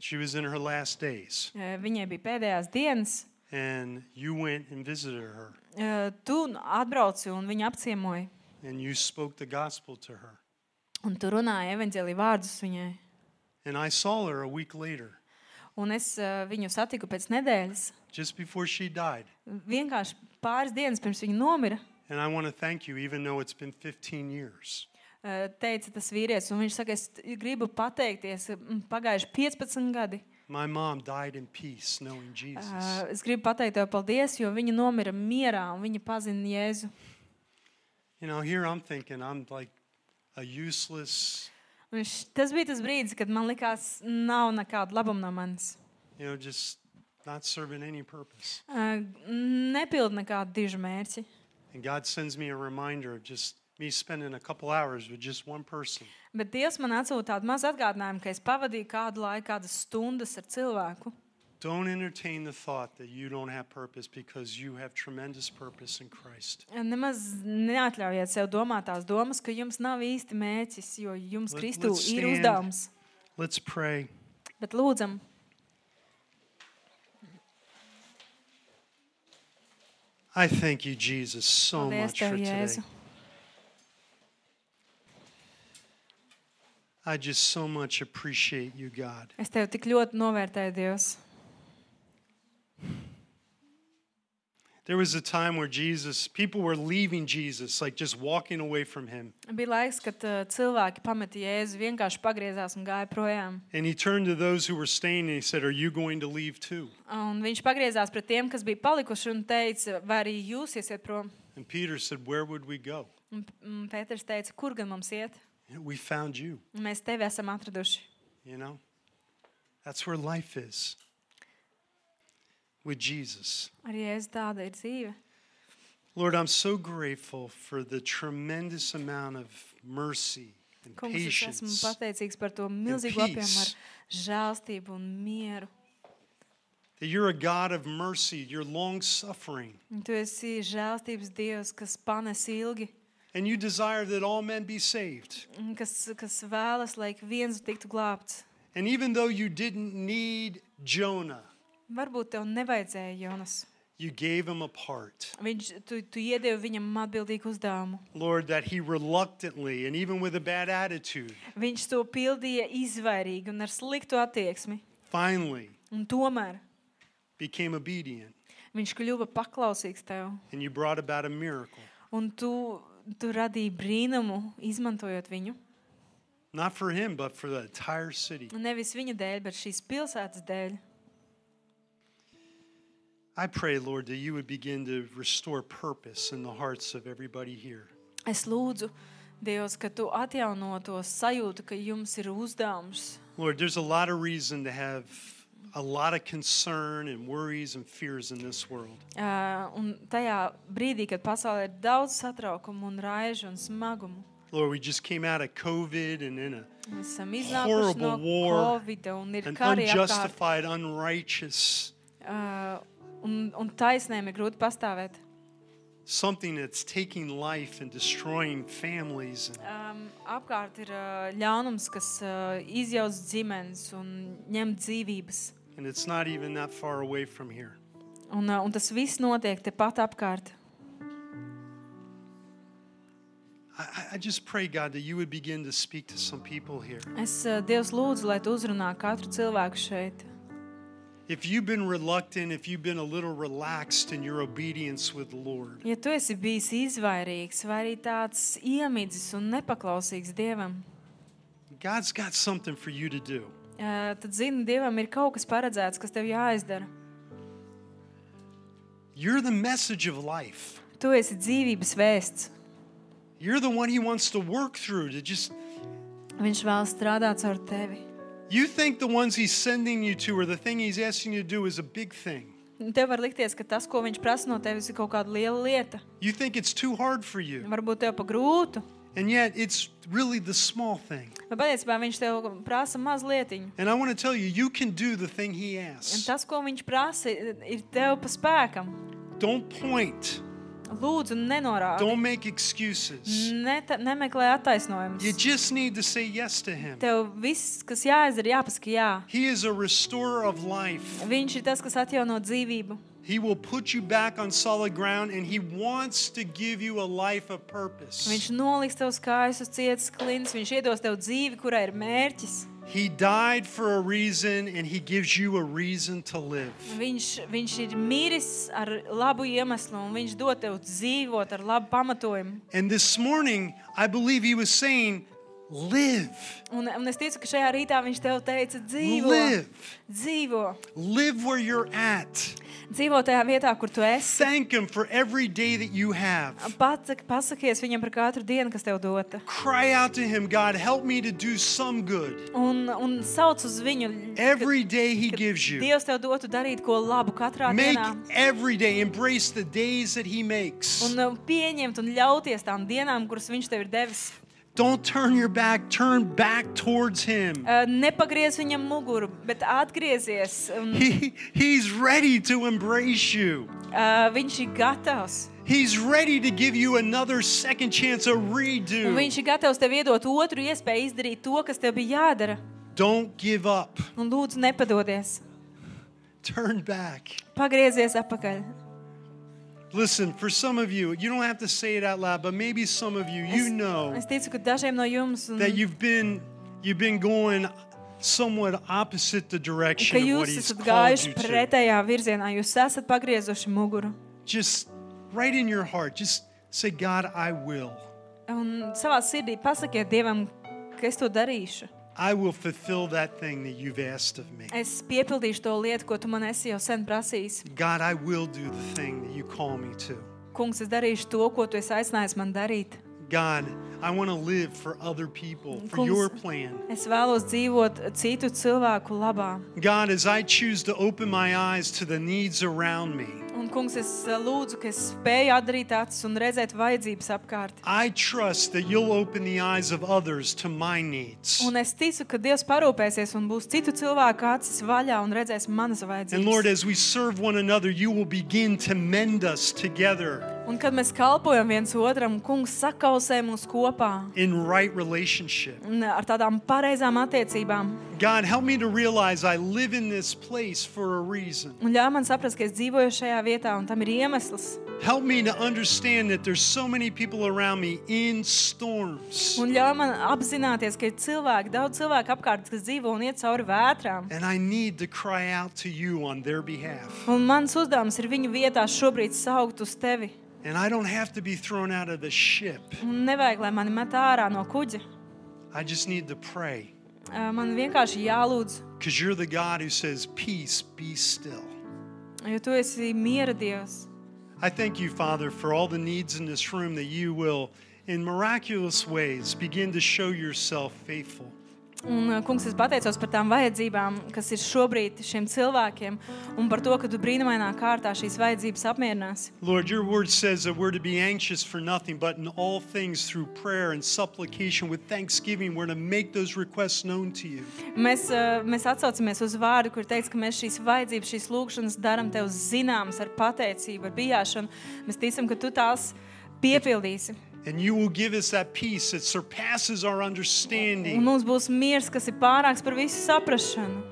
B: She was in her last days.
C: Uh, viņai bija pēdējās dienas.
B: And you went and visited her,
C: Uh, tu atbrauci un viņa apciemoji.
B: and you spoke the gospel to her.
C: Un tu runāji evanģēlīju vārdus viņai.
B: And I saw her a week later,
C: Un es uh, viņu satiku pēc nedēļas.
B: just before she died.
C: Vienkārši pāris dienas pirms viņa nomira.
B: And I want to thank you, even though it's been 15 years.
C: uh, Teica tas vīrietis, un viņš saka, es gribu pateikties. mm, Pagājuši 15 gadi.
B: My mom died in peace, knowing Jesus.
C: Uh, es gribu pateikt tev paldies, jo viņa nomira mierā un viņa pazina Jēzu.
B: You know, here I'm thinking I'm like a useless,
C: Un š- Tas bija tas brīdis, kad man likās, nav nekāda labuma no manis.
B: you know, just not serving any purpose.
C: Ā, Nepildu nekādu dižu mērķi.
B: And God sends me a reminder of just me spending a couple hours with just one person.
C: Bet Dievs man atsūta tādu mazu atgādinājumu, ka es pavadīju kādu laiku, kādas stundas ar cilvēku.
B: Don't entertain the thought that you don't have purpose because you have tremendous purpose in Christ.
C: Nemaz neatļaujiet sev domāt tās domas, ka jums nav īsti mērķis, jo jums,
B: Let-
C: Kristu,
B: let's
C: ir
B: stand.
C: uzdevums.
B: Let's pray.
C: Bet lūdzam,
B: I thank you, Jesus, so
C: paldies
B: much for
C: Tev,
B: today.
C: Jēzu.
B: I just so much appreciate you, God.
C: Es Tev tik ļoti novērtēju, Dievs.
B: There was a time where Jesus, people were leaving Jesus, like just walking away from him.
C: Bija laiks, kad ā, cilvēki pameta Jēzu, vienkārši pagriezās un gāja projām.
B: And he turned to those who were staying and he said, Are you going to leave too?
C: Un viņš pagriezās pie tiem, kas bija palikuši, un teica, vai arī jūs iesiet prom.
B: And Peter said, Where would we go?
C: Un mm, Pēters teica, kur gan mums iet?
B: We found you,
C: Un mēs tevi esam atraduši.
B: you know? That's where life is with Jesus.
C: Arī es tāda ir dzīve.
B: Lord, I'm so grateful for the tremendous amount of mercy and
C: Kungs, es esmu
B: patience that
C: pateicīgs par to milzīgo apjomu ar
B: peace.
C: žēlstību un mieru.
B: you're a God of mercy, you're long suffering,
C: Un Tu esi žēlstības Dievs, kas panes ilgi,
B: and you desire that all men be saved.
C: un kas, kas vēlas, lai ik viens tiktu glābts.
B: And even though you didn't need Jonah,
C: Varbūt tev nevajadzēja Jonas.
B: you gave him a part.
C: Viņš, tu, tu iedevi viņam atbildīgu uzdevumu.
B: Lord, that he reluctantly and even with a bad attitude
C: Viņš to pildīja izvairīgi un ar sliktu attieksmi.
B: finally
C: Un tomēr
B: became obedient
C: viņš kļuva paklausīgs tev.
B: and you brought about a miracle.
C: Un tu, tu radīji brīnumu, izmantojot viņu.
B: Not for him, but for the entire city.
C: Un Nevis viņa dēļ, bet šīs pilsētas dēļ.
B: I pray, Lord, that you would begin to restore purpose in the hearts of everybody here.
C: Es lūdzu, Dievs, ka tu atjauno to sajūtu, ka jums ir uzdevums.
B: Lord, there's a lot of reason to have a lot of concern and worries and fears in this world.
C: Ā, Un tajā brīdī, kad pasaulē ir daudz satraukumu, un raižu un smagumu,
B: Lord, we just came out of COVID and in a,
C: mēs esam iznākuši no
B: Horrible war
C: Covid, un ir
B: an
C: kari apkārt.
B: unjustified, unrighteous,
C: Ā, Un, un taisnēm ir grūti pastāvēt.
B: something that's taking life and destroying families and
C: Um, apkārt ir uh, ļaunums, kas uh, izjauc ģimenes un ņem dzīvības.
B: and it's not even that far away from here.
C: Un, uh, un tas viss notiek tepat apkārt.
B: I- I, I just pray, God, that you would begin to speak to some people here.
C: Es uh, Dievs lūdzu, lai tu uzrunā katru cilvēku šeit.
B: If you've been reluctant, if you've been a little relaxed in your obedience with the Lord,
C: Ja tu esi bijis izvairīgs, vai arī tāds iemidzis un nepaklausīgs Dievam,
B: God's got something for you to do.
C: ā, eh, tad zini, Dievam ir kaut kas paredzēts, kas tev jāizdara.
B: You're the message of life.
C: Tu esi dzīvības vēsts.
B: You're the one He wants to work through to just.
C: Viņš vēl strādā caur tevi.
B: You think the ones He's sending you to or the thing He's asking you to do is a big thing.
C: Un Tev var likties, ka tas, ko viņš prasa no tevis, ir kaut kāda liela lieta.
B: You think it's too hard for you.
C: Varbūt tev pa grūtu,
B: And yet, it's really the small thing.
C: bet patiesībā viņš tev prasa mazlietiņu.
B: And I want to tell you, you can do the thing He
C: Un
B: asks.
C: tas, ko viņš prasa, ir tev pa spēkam.
B: Don't point,
C: Lūdzu, nenorādi.
B: don't make excuses.
C: Neta, nemeklē
B: You
C: attaisnojumus.
B: just need to say yes to Him.
C: Tev viss, kas jāizdara, ir jāpasaka, jā.
B: He is a restorer of life.
C: Viņš ir tas, kas atjauno dzīvību.
B: He will put you back on solid ground and He wants to give you a life of
C: Viņš
B: purpose.
C: noliks tev kājus uz cietas klints, viņš iedos tev dzīvi, kurai ir mērķis.
B: He died for a reason and He gives you a reason to live.
C: Viņš, viņš ir miris ar labu iemeslu, un viņš dod tev dzīvot ar labu pamatojumu.
B: And this morning, I believe He was saying, Live,
C: Un, un es ticu, ka šajā rītā viņš tev teica,
B: Nu,
C: dzīvo,
B: live,
C: dzīvo,
B: live where you're at.
C: dzīvo tajā vietā, kur tu esi.
B: Thank Him for every day that you have.
C: Pasak, pasakies viņam par katru dienu, kas tev dota.
B: Cry out to Him, God, help me to do some good.
C: Un, un sauc uz viņu.
B: Every day He
C: ka
B: gives you.
C: Dievs tev dotu darīt ko labu katrā
B: Make
C: dienā.
B: every day, embrace the days that He makes.
C: Un uh, pieņemt un ļauties tām dienām, kuras viņš tev ir devis.
B: Don't turn your back, turn back towards Him.
C: Uh, Nepagriez viņam muguru, bet atgriezies. Un,
B: He, he's ready to embrace you,
C: uh, viņš ir gatavs.
B: He's ready to give you another second chance, a
C: Un
B: redo.
C: viņš ir gatavs tev iedot otru iespēju izdarīt to, kas tev bija jādara.
B: Don't give up,
C: Un lūdzu, nepadodies.
B: turn back.
C: Pagriezies atpakaļ.
B: Listen, for some of you, you don't have to say it out loud, but maybe some of you, you know
C: Es ticu, ka dažiem no jums un,
B: that you've been you've been going somewhat opposite the
C: ka
B: direction of what
C: jūs
B: he's
C: esat
B: called
C: gājuši
B: you to.
C: pretējā virzienā. Jūs esat pagriezuši muguru.
B: just right in your heart, just say, God, I will.
C: Un savā sirdī pasakiet Dievam, ka es to darīšu.
B: I will fulfill that thing that you've asked of me.
C: Es piepildīšu to lietu, ko tu man esi jau sen prasījis.
B: God, I will do the thing that you call me to.
C: Kungs, es darīšu to, ko tu esi aicinājis man darīt.
B: God, I want to live for other people, for
C: Kungs.
B: your plan.
C: Es vēlos dzīvot citu cilvēku labā.
B: God, as I choose to open my eyes to the needs around me,
C: Un, kungs, es eh, lūdzu, ka es spēju atdarīt acis un redzēt vajadzības apkārt.
B: I trust that you'll open the eyes of others to my needs.
C: Un es ticu, ka Dievs parūpēsies un būs citu cilvēku acis vaļā un redzēs manas
B: And Lord,
C: vajadzības.
B: as we serve one another, you will begin to mend us together
C: Un, kad mēs kalpojam viens otram, kungs sakausē mūs kopā
B: in right relationship.
C: un eh, ar tādām pareizām attiecībām.
B: God, help me to realize I live in this place for a reason.
C: Un ļauj man saprast, ka es dzīvoju šajā vietā, un tam ir iemesls.
B: Help me to understand that there's so many people around me in storms.
C: Un ļauj man apzināties, ka ir cilvēki, daudz cilvēku apkārt, kas dzīvo un iet cauri vētrām.
B: And I need to cry out to you on their behalf.
C: Un mans uzdevums ir viņu vietā šobrīd saukt uz tevi.
B: And I don't have to be thrown out of the ship.
C: Un nevajag, lai mani met ārā no kuģa.
B: I just need to pray
C: Ā, Man vienkārši jālūdz,
B: because you're the God who says, Peace, be still.
C: jo tu esi miera dievs.
B: I thank you, Father, for all the needs in this room that you will, in miraculous ways, begin to show yourself faithful.
C: Un, ā, kungs, es pateicos par tām vajadzībām, kas ir šobrīd šiem cilvēkiem, un par to, ka tu brīnumainā kārtā šīs vajadzības apmierināsi.
B: Lord, your word says that we're to be anxious for nothing, but in all things through prayer and supplication with thanksgiving, we're to make those requests known to you.
C: Mēs, ā, mēs atcaucamies uz vārdu, kur teikts, ka mēs šīs vajadzības, šīs lūgšanas darām tev zināmas ar pateicību, ar bijāšanu. Mēs ticam, ka tu tās piepildīsi.
B: And you will give us that peace that surpasses our
C: Un
B: understanding.
C: mums būs miers, kas ir pārāks par visu saprašanu.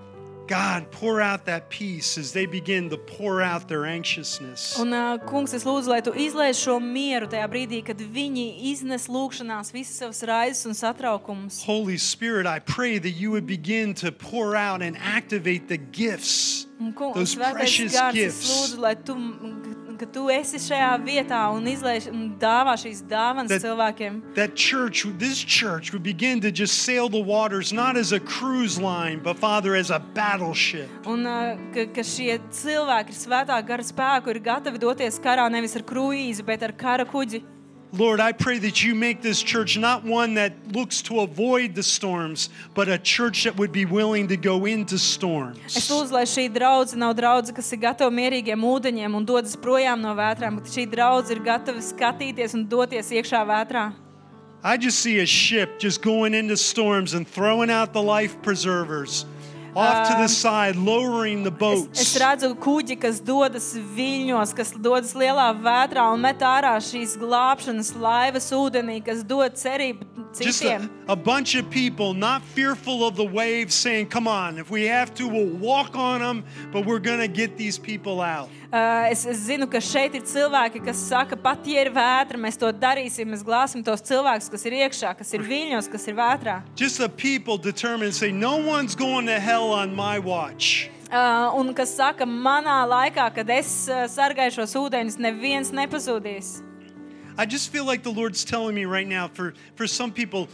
B: God, pour out that peace as they begin to pour out their anxiousness.
C: Un, ā, kungs, es lūdzu, lai tu izlaiž šo mieru tajā brīdī, kad viņi iznes lūgšanās visas savas raizes un satraukumus.
B: Holy Spirit, I pray that you would begin to pour out and activate the gifts,
C: Un, kungs,
B: those
C: svētais
B: precious
C: gars, es
B: gifts
C: lūdzu, lai tu, m- ka tu esi šajā vietā un izlaiž un dāvā šīs dāvanas
B: That-
C: cilvēkiem.
B: that church, this church, would begin to just sail the waters, not as a cruise line, but Father, as a battleship.
C: Un ā, ka, ka šie cilvēki ar svētā gara spēku ir gatavi doties karā nevis ar kruīzi, bet ar kara kuģi.
B: Lord, I pray that you make this church not one that looks to avoid the storms, but a church that would be willing to go into
C: Es
B: storms.
C: lūdzu, lai šī draudzene nav draudzene, kas ir gatava mierīgiem ūdeņiem un dodas projām no vētrām, bet šī draudzene ir gatava skatīties un doties iekšā vētrā.
B: I just see a ship just going into storms and throwing out the life preservers off to the side, lowering the
C: Es,
B: boats.
C: es redzu kuģi, kas dodas viļņos, kas dodas lielā vētrā un met ārā šīs glābšanas laivas ūdenī, kas dod cerību
B: just
C: citiem.
B: a, a bunch of people not fearful of the waves saying come on if we have to we'll walk on them but we're gonna get these people out
C: Uh, Es, es zinu, ka šeit ir cilvēki, kas saka, pat ja ir vētra, mēs to darīsim. Mēs glāsim tos cilvēkus, kas ir iekšā, kas ir viļņos, kas ir vētrā.
B: just a people determined to say no one's going to hell on my watch
C: Uh, un kas saka, manā laikā, kad es uh, sargāju šos ūdeņus, neviens nepazudīs.
B: i just feel like the lord's telling me right now for for some people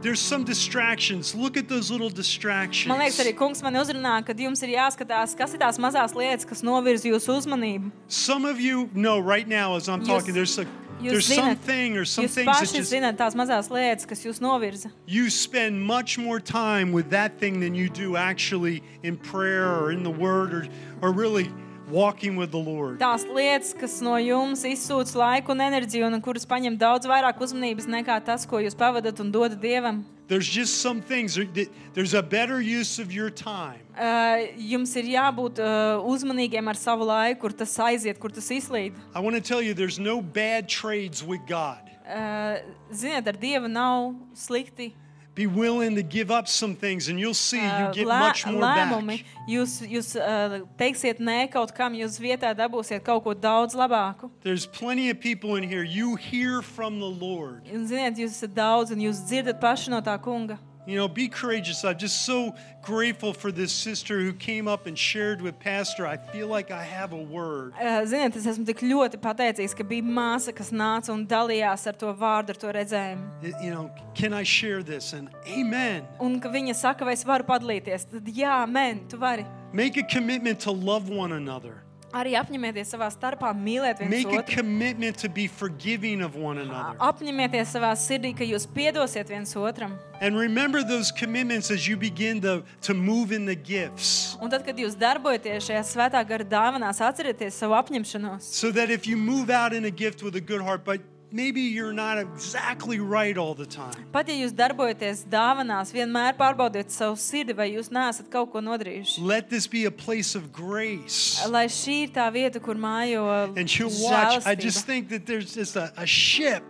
B: there's some distractions look at those little distractions
C: Man liekas, arī kungs man uzrunā, ka jums ir jāskatās, kas ir tās mazās lietas, kas novirza jūsu uzmanību.
B: some of you know right now as i'm
C: Jūs-
B: talking there's a
C: jūs
B: there's
C: zinat-
B: something or some
C: Jūs
B: things that
C: paši
B: just
C: zināt tās mazās lietas, kas jūs novirza.
B: you spend much more time with that thing than you do actually in prayer or in the word or, or really walking with the Lord.
C: Tās lietas, kas no jums izsūta laiku un enerģiju, un kuras paņem daudz vairāk uzmanības nekā tas, ko jūs pavadat un dodat dievam.
B: There's just some things, that- there's a better use of your time.
C: Uh, jums ir jābūt uh, uzmanīgiem ar savu laiku, kur tas aiziet, kur tas izslīd.
B: I want to tell you, there's no bad trades with God.
C: Uh, ziniet, ar dievu nav slikti.
B: Be willing to give up some things and you'll see you
C: Uh,
B: get
C: lē-
B: much more
C: lēmumi.
B: back.
C: Jūs, jūs uh, teiksiet nē kaut kam, jūs vietā dabūsiet kaut ko daudz labāku.
B: There's plenty of people in here. You hear from the Lord.
C: Un, ziniet, jūs esat daudz un jūs dzirdat paši no tā kunga.
B: You know, be courageous. I'm just so grateful for this sister who came up and shared with Pastor. I feel like I have a word.
C: Uh, Ziniet, es esmu tik ļoti pateicīgs, ka bija māsa, kas nāca un dalījās ar to vārdu, ar to redzējumu.
B: Y- you know, can I share this? And amen.
C: Un ka viņa saka, vai es varu padalīties. Tad jā, men, tu vari.
B: Make a commitment to love one another.
C: Arī apņemieties savā starpā mīlēt viens
B: Make a
C: otru.
B: commitment to be forgiving of one another.
C: Ah, Apņemieties savā sirdī, ka jūs piedosiet viens otram.
B: And remember those commitments as you begin to, to move in the gifts.
C: Un tad, kad jūs darbojaties šajā svētā gara dāvanās, atcerieties savu apņemšanos.
B: So that if you move out in a gift with a good heart, but maybe you're not exactly right all the time,
C: Pat ja jūs darbojaties dāvanās, vienmēr pārbaudiet savu sirdi, vai jūs neesat kaut ko nodarījuši.
B: let this be a place of grace.
C: Lai šī ir tā vieta, kur mājo
B: And you watch, I just
C: žēlastība.
B: think that there's just a, a ship,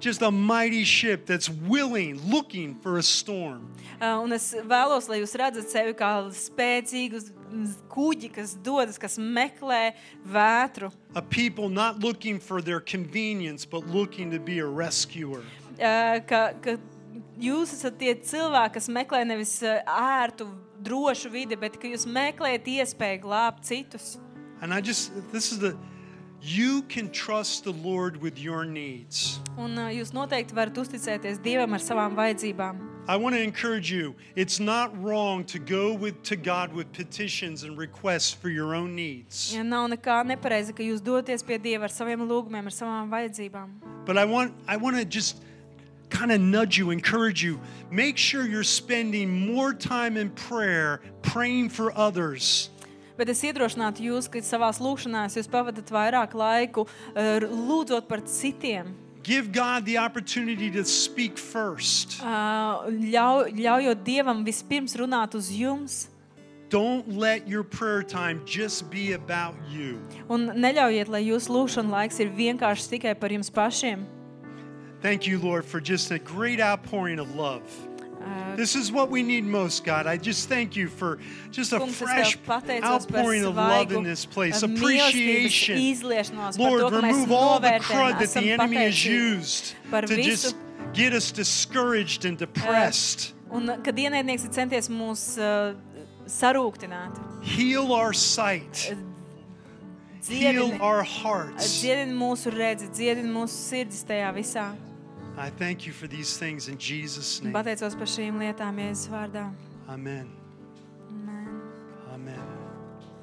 B: just a mighty ship that's willing, looking for a storm.
C: Uh, Un es vēlos, lai jūs redzat sevi kā spēcīgu z- z- kuģi, kas dodas, kas meklē vētru.
B: A people not looking for their convenience, but looking to be a rescuer.
C: Uh, Ka, ka jūs esat tie cilvēki, kas meklē nevis uh, ērtu, drošu vidi, bet ka jūs meklējat iespēju glābt citus.
B: And I just, this is the, you can trust the Lord with your needs.
C: Un uh, jūs noteikti varat uzticēties Dievam ar savām vajadzībām.
B: I want to encourage you, it's not wrong to go with, to God with petitions and requests for your own needs.
C: Ja nav nekā nepareiza, ka jūs doties pie Dieva ar saviem lūgumiem, ar savām vajadzībām.
B: But I want, I want to just kind of nudge you, encourage you. Make sure you're spending more time in prayer, praying for others,
C: Bet es iedrošinātu jūs, ka savā lūkšanā jūs pavadat vairāk laiku eh, lūdzot par citiem.
B: give God the opportunity to speak first.
C: Ah, Ļauj, ļaujot Dievam vispirms runāt uz jums,
B: Don't let your prayer time just be about you.
C: un neļaujiet, lai jūsu lūkšanas laiks ir vienkārši tikai par jums pašiem.
B: Thank you, Lord, for just a great outpouring of love. This is what we need most, God. I just thank you for just a
C: Kungs, es
B: fresh
C: tev pateicos par
B: outpouring of love
C: svaigu
B: in this place,
C: eh, mīlestības
B: appreciation.
C: izliešanos, par to,
B: Lord,
C: ka mēs
B: remove all the crud that
C: novērtējam,
B: the
C: esam
B: enemy has
C: pateicīgi.
B: used
C: par
B: to just get us discouraged and depressed.
C: Un kad ienaidnieks ir centies mūs uh, sarūktināt,
B: Heal our sight, heal
C: dziedini,
B: our hearts.
C: dziedini mūsu redzi, dziedini mūsu sirdis tajā visā.
B: I thank you for these things in Jesus'
C: Un
B: name.
C: Pateicos par šīm lietām, Jēzus vārdā.
B: Amen.
C: Amen.